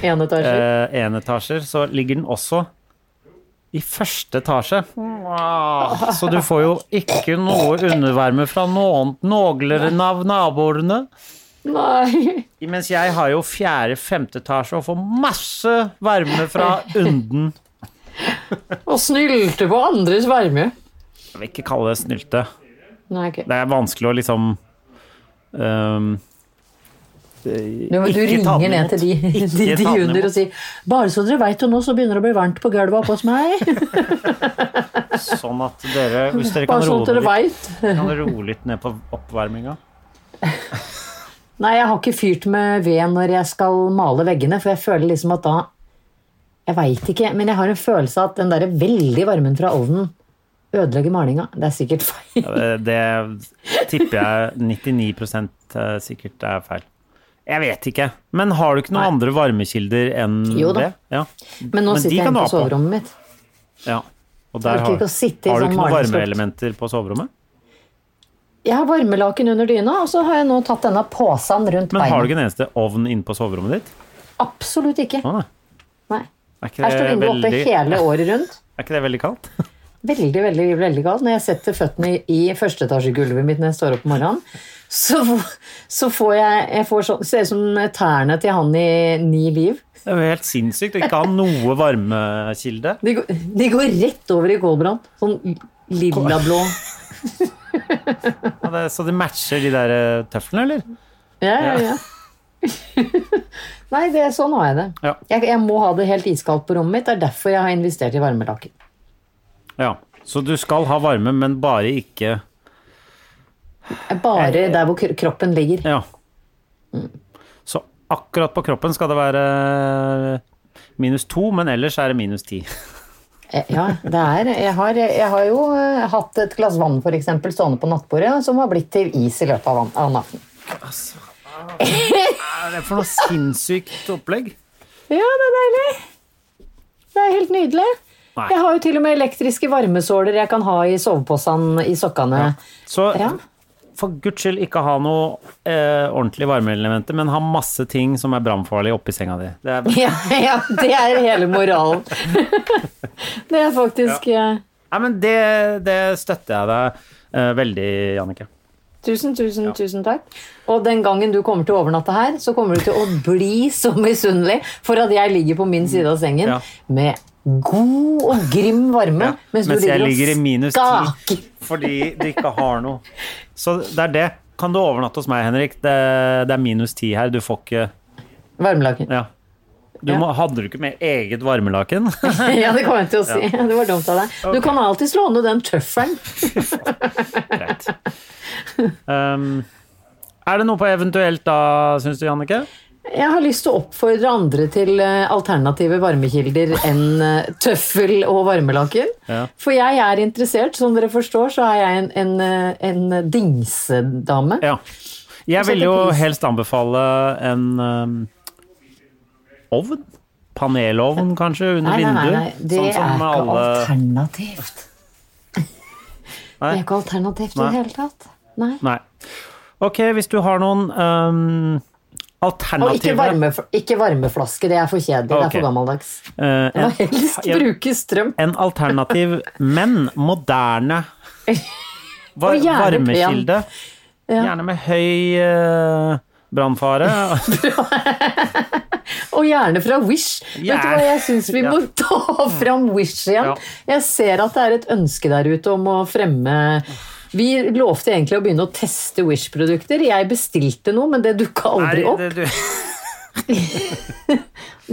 Speaker 1: En etasje.
Speaker 2: eh, enetasjer, så ligger den også i første etasje. Så du får jo ikke noe undervarme fra noen nogleren av naboene.
Speaker 1: Nei.
Speaker 2: Mens jeg har jo fjerde-femte etasje og får masse varme fra unden.
Speaker 1: Og snylte på andres varme.
Speaker 2: Jeg vil ikke kalle det snylte.
Speaker 1: Nei, ok.
Speaker 2: Det er vanskelig å liksom ehm,
Speaker 1: Du, du
Speaker 2: Ikke ta
Speaker 1: ringer
Speaker 2: den
Speaker 1: ned til de,
Speaker 2: imot.
Speaker 1: de,
Speaker 2: Ikke
Speaker 1: de
Speaker 2: ta den
Speaker 1: under
Speaker 2: imot.
Speaker 1: og sier 'Bare så dere veit det, nå så begynner det å bli varmt på gulvet oppe hos meg'.
Speaker 2: Sånn at dere, hvis dere kan
Speaker 1: Bare sånn
Speaker 2: roe
Speaker 1: at dere
Speaker 2: litt,
Speaker 1: vet.
Speaker 2: kan dere roe litt ned på oppvarminga.
Speaker 1: Nei, jeg har ikke fyrt med ved når jeg skal male veggene, for jeg føler liksom at da Jeg veit ikke, men jeg har en følelse av at den derre veldig varmen fra ovnen ødelegger malinga. Det er sikkert feil.
Speaker 2: Eh, Det tipper jeg 99 eh, sikkert er feil. Jeg vet ikke. Men har du ikke noen andre varmekilder enn
Speaker 1: Jo da.
Speaker 2: det? Ja.
Speaker 1: Men nå
Speaker 2: Men de
Speaker 1: sitter jeg
Speaker 2: kan
Speaker 1: inne
Speaker 2: du
Speaker 1: på
Speaker 2: ha på.
Speaker 1: soverommet mitt.
Speaker 2: ja. Og der
Speaker 1: Orker
Speaker 2: har,
Speaker 1: ikke å sitte i
Speaker 2: har du
Speaker 1: sånn
Speaker 2: ikke noen
Speaker 1: malestokt.
Speaker 2: varmeelementer på soverommet?
Speaker 1: Jeg har varmelaken under dyna, og så har jeg nå tatt denne posen rundt
Speaker 2: Men
Speaker 1: beina.
Speaker 2: har du ikke en eneste ovn inne på soverommet ditt?
Speaker 1: Absolutt ikke.
Speaker 2: Å, nei.
Speaker 1: Nei.
Speaker 2: Er ikke
Speaker 1: Her står
Speaker 2: det
Speaker 1: vinduet oppe
Speaker 2: veldig-
Speaker 1: hele året rundt.
Speaker 2: Er ikke det veldig kaldt?
Speaker 1: Veldig, veldig, veldig kaldt. Når jeg setter føttene i- i førsteetasjegulvet mitt når jeg står opp om morgenen, så, så får jeg, jeg får sånn, ser ut som tærne til han i Ni liv.
Speaker 2: Det er jo helt sinnssykt å ikke ha noe varmekilde.
Speaker 1: De går, de går rett over i kålbrann. Sånn lilla-blå.
Speaker 2: Og det- Så det matcher de der eh, tøflene, eller?
Speaker 1: Ja, ja, ja. Nei, det, sånn har jeg det.
Speaker 2: Ja.
Speaker 1: Jeg, jeg må ha det helt iskaldt på rommet mitt. Det er derfor jeg har investert i varmelaken.
Speaker 2: Ja. Så du skal ha varme, men bare ikke
Speaker 1: Bare der hvor kro- kroppen ligger.
Speaker 2: Ja. Så akkurat på kroppen skal det være eh, minus to, men ellers er det minus ti.
Speaker 1: Eh, Ja, det er Jeg har, jeg har jo eh, hatt et glass vann for eksempel, stående på nattbordet som har blitt til is i løpet av, van- av natten.
Speaker 2: Er det for noe sinnssykt opplegg?
Speaker 1: Ja, det er deilig. Det er helt nydelig.
Speaker 2: Nei.
Speaker 1: Jeg har jo til og med elektriske varmesåler jeg kan ha i soveposene i sokkene.
Speaker 2: Så
Speaker 1: Ja.
Speaker 2: for guds skyld ikke ha noe eh, ordentlig varmeelementer, men ha masse ting som er brannfarlig oppi senga di. Det er
Speaker 1: Ja, ja, det er hele moralen. Det er faktisk eh,
Speaker 2: Nei, men det, det støtter jeg deg eh, veldig, Jannicke.
Speaker 1: Tusen, tusen, tusen takk. Og den gangen du kommer til å overnatte her, så kommer du til å bli så misunnelig for at jeg ligger på min side av sengen
Speaker 2: Ja.
Speaker 1: med god og grim varme,
Speaker 2: Ja,
Speaker 1: mens,
Speaker 2: mens
Speaker 1: du
Speaker 2: jeg
Speaker 1: ligger,
Speaker 2: ligger i
Speaker 1: og
Speaker 2: minus
Speaker 1: skaker.
Speaker 2: 10 fordi du ikke har noe. Så det er det. Kan du overnatte hos meg, Henrik? Det, det er minus ti her. Du får ikke
Speaker 1: Varmelaken.
Speaker 2: Ja. Du
Speaker 1: Ja.
Speaker 2: må, hadde du ikke med eget varmelaken?
Speaker 1: Ja, det kommer jeg til å si. Det var dumt av deg. Du kan alltid slå ned den tøffelen.
Speaker 2: Greit. Um, er det noe på eventuelt da, syns du, Jannicke?
Speaker 1: Jeg har lyst til å oppfordre andre til eh, alternative varmekilder enn eh, tøffel og varmelaken.
Speaker 2: Ja.
Speaker 1: For jeg er interessert, som dere forstår, så er jeg en, en, eh, en dingsedame.
Speaker 2: Ja. Jeg
Speaker 1: setter
Speaker 2: ville jo
Speaker 1: pris.
Speaker 2: helst anbefale en um, ovn. Panelovn, kanskje, under
Speaker 1: Nei, nei, nei, nei.
Speaker 2: vinduet.
Speaker 1: Det
Speaker 2: sånn som
Speaker 1: er ikke
Speaker 2: alle-
Speaker 1: alternativt. Det
Speaker 2: Nei.
Speaker 1: er ikke alternativt i
Speaker 2: Nei.
Speaker 1: det hele tatt. Nei.
Speaker 2: Nei. Ok, hvis du har noen um,
Speaker 1: Og ikke,
Speaker 2: alternative
Speaker 1: varme, ikke varmeflaske, det er for kjedelig. Det er
Speaker 2: Ok.
Speaker 1: for gammeldags.
Speaker 2: Eh,
Speaker 1: Jeg må
Speaker 2: en,
Speaker 1: helst
Speaker 2: Ja.
Speaker 1: bruke strøm.
Speaker 2: en alternativ, men moderne var,
Speaker 1: Og gjerne pen.
Speaker 2: varmekilde. Gjerne med høy uh, brannfare.
Speaker 1: Og gjerne fra Wish. Vet du
Speaker 2: Gjerne.
Speaker 1: hva, jeg syns vi må
Speaker 2: Ja.
Speaker 1: ta fram Wish igjen.
Speaker 2: Ja.
Speaker 1: Jeg ser at det er et ønske der ute om å fremme Vi lovte egentlig å begynne å teste Wish-produkter. Jeg bestilte noe, men det dukka aldri
Speaker 2: Nei,
Speaker 1: opp.
Speaker 2: det- du-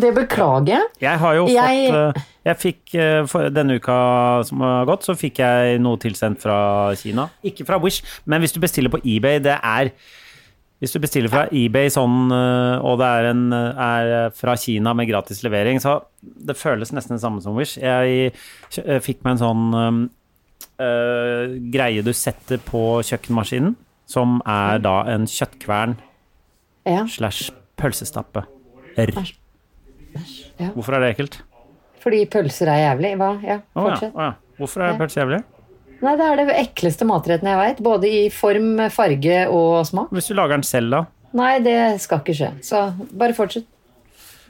Speaker 1: Det beklager jeg.
Speaker 2: Jeg har jo
Speaker 1: Jeg-
Speaker 2: fått eh, Jeg fikk eh, for denne uka som har gått, så fikk jeg noe tilsendt fra Kina. Ikke fra Wish, men hvis du bestiller på eBay, det er Hvis du bestiller fra eBay sånn, eh, og det er, en, eh, er fra Kina med gratis levering, så det føles nesten det samme som Wish. Jeg kjø- eh, fikk meg en sånn eh, eh, greie du setter på kjøkkenmaskinen, som er da en kjøttkvern
Speaker 1: Ja,
Speaker 2: slash pølsestappe. R.
Speaker 1: ja.
Speaker 2: Hvorfor er det ekkelt?
Speaker 1: fordi pølser er jævlig. Hva? Ja,
Speaker 2: Å ja,
Speaker 1: fortsett.
Speaker 2: å ja. Hvorfor er pølse jævlig?
Speaker 1: Nei, det er det ekleste matretten jeg veit. Både i form, farge og smak.
Speaker 2: Hvis du lager den selv, da?
Speaker 1: Nei, det skal ikke skje. Så bare fortsett.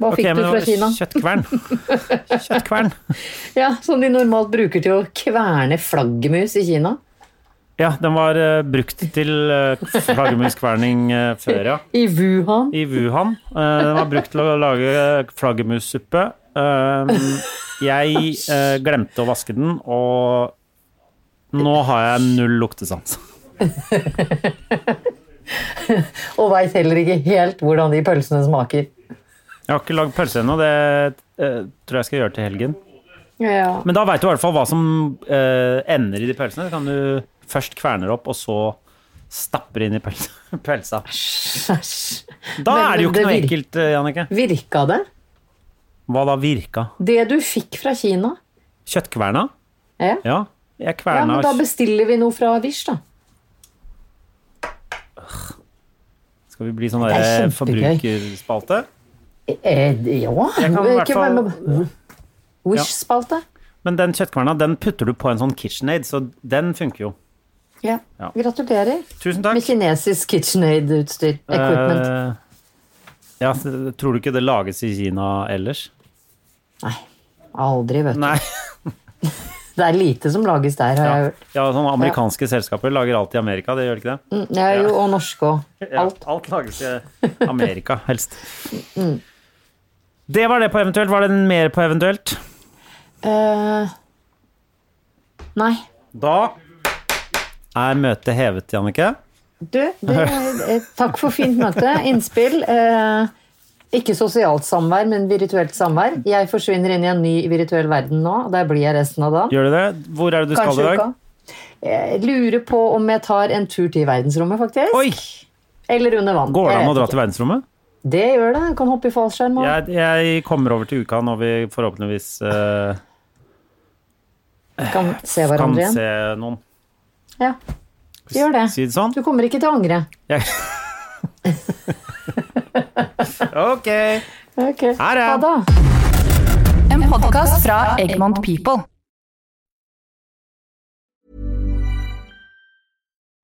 Speaker 1: Hva
Speaker 2: Ok,
Speaker 1: fikk
Speaker 2: men
Speaker 1: du fra Kina?
Speaker 2: Kjøttkvern. Kjøttkvern.
Speaker 1: Ja, Som de normalt bruker til å kverne flaggermus i Kina.
Speaker 2: Ja, den var eh, brukt til eh, flaggermuskverning eh, før, ja.
Speaker 1: I Wuhan.
Speaker 2: I Wuhan. Eh, den var brukt til å lage eh, flaggermussuppe. Um, jeg eh, glemte å vaske den, og nå har jeg null luktesans.
Speaker 1: Og veit heller ikke helt hvordan de pølsene smaker.
Speaker 2: Jeg har ikke lagd pølse ennå, det eh, tror jeg skal gjøre til helgen.
Speaker 1: Ja.
Speaker 2: Men da veit du i hvert fall hva som eh, ender i de pølsene. Så kan du først kverne det opp, og så stapper inn i pøls pølsa.
Speaker 1: Æsj.
Speaker 2: Da
Speaker 1: Men
Speaker 2: er det jo
Speaker 1: det
Speaker 2: ikke noe
Speaker 1: vir-
Speaker 2: ekkelt, eh, Jannicke.
Speaker 1: Virka det?
Speaker 2: Hva da virka?
Speaker 1: Det du fikk fra Kina?
Speaker 2: Kjøttkverna?
Speaker 1: Ja,
Speaker 2: Ja. Jeg
Speaker 1: ja men
Speaker 2: kverna
Speaker 1: da bestiller vi noe fra Wish, da.
Speaker 2: Skal vi bli sånn
Speaker 1: Det
Speaker 2: der
Speaker 1: er kjempegøy.
Speaker 2: forbrukerspalte?
Speaker 1: Eh, ja
Speaker 2: Jeg kan i hvert
Speaker 1: Ikke være
Speaker 2: fall-
Speaker 1: med- Wish-spalte.
Speaker 2: Men den kjøttkverna den putter du på en sånn KitchenAid, så den funker jo.
Speaker 1: Ja.
Speaker 2: Ja.
Speaker 1: Gratulerer
Speaker 2: Tusen takk.
Speaker 1: med kinesisk KitchenAid-utstyr. Equipment.
Speaker 2: Eh, ja, så tror du ikke det lages i Kina ellers?
Speaker 1: Nei. Aldri, vet du.
Speaker 2: Nei.
Speaker 1: Det er lite som lages der, har jeg
Speaker 2: Ja,
Speaker 1: hørt.
Speaker 2: ja sånne amerikanske selskaper lager alt i Amerika, det gjør det ikke det?
Speaker 1: Mm, Ja, jo, og norske òg.
Speaker 2: Ja,
Speaker 1: Alt.
Speaker 2: alt lages i Amerika, helst. Det var det på eventuelt. Var det mer på eventuelt?
Speaker 1: Eh, nei.
Speaker 2: Da er møtet hevet, Jannicke.
Speaker 1: Du, det, eh, takk for fint møte. Innspill. Eh, ikke sosialt samvær, men virtuelt samvær. Jeg forsvinner inn i en ny virtuell verden nå. og Der blir jeg resten av dagen.
Speaker 2: Gjør du det? Hvor er det du skal i dag?
Speaker 1: uka. Jeg lurer på om jeg tar en tur til verdensrommet, faktisk.
Speaker 2: Oi!
Speaker 1: Eller under vann.
Speaker 2: Går det
Speaker 1: Jeg
Speaker 2: an å
Speaker 1: vet
Speaker 2: dra
Speaker 1: ikke.
Speaker 2: til verdensrommet?
Speaker 1: Det gjør det. Jeg kan hoppe i fallskjerm. og-
Speaker 2: Jeg, jeg kommer over til uka når vi forhåpentligvis eh,
Speaker 1: Kan se
Speaker 2: kan
Speaker 1: hverandre igjen.
Speaker 2: se noen.
Speaker 1: Ja, gjør det.
Speaker 2: Si det sånn.
Speaker 1: Du kommer ikke til å angre.
Speaker 2: Jeg... ok.
Speaker 1: Ok.
Speaker 2: Ha det.
Speaker 1: Ha det.
Speaker 3: En podkast fra Egmont People.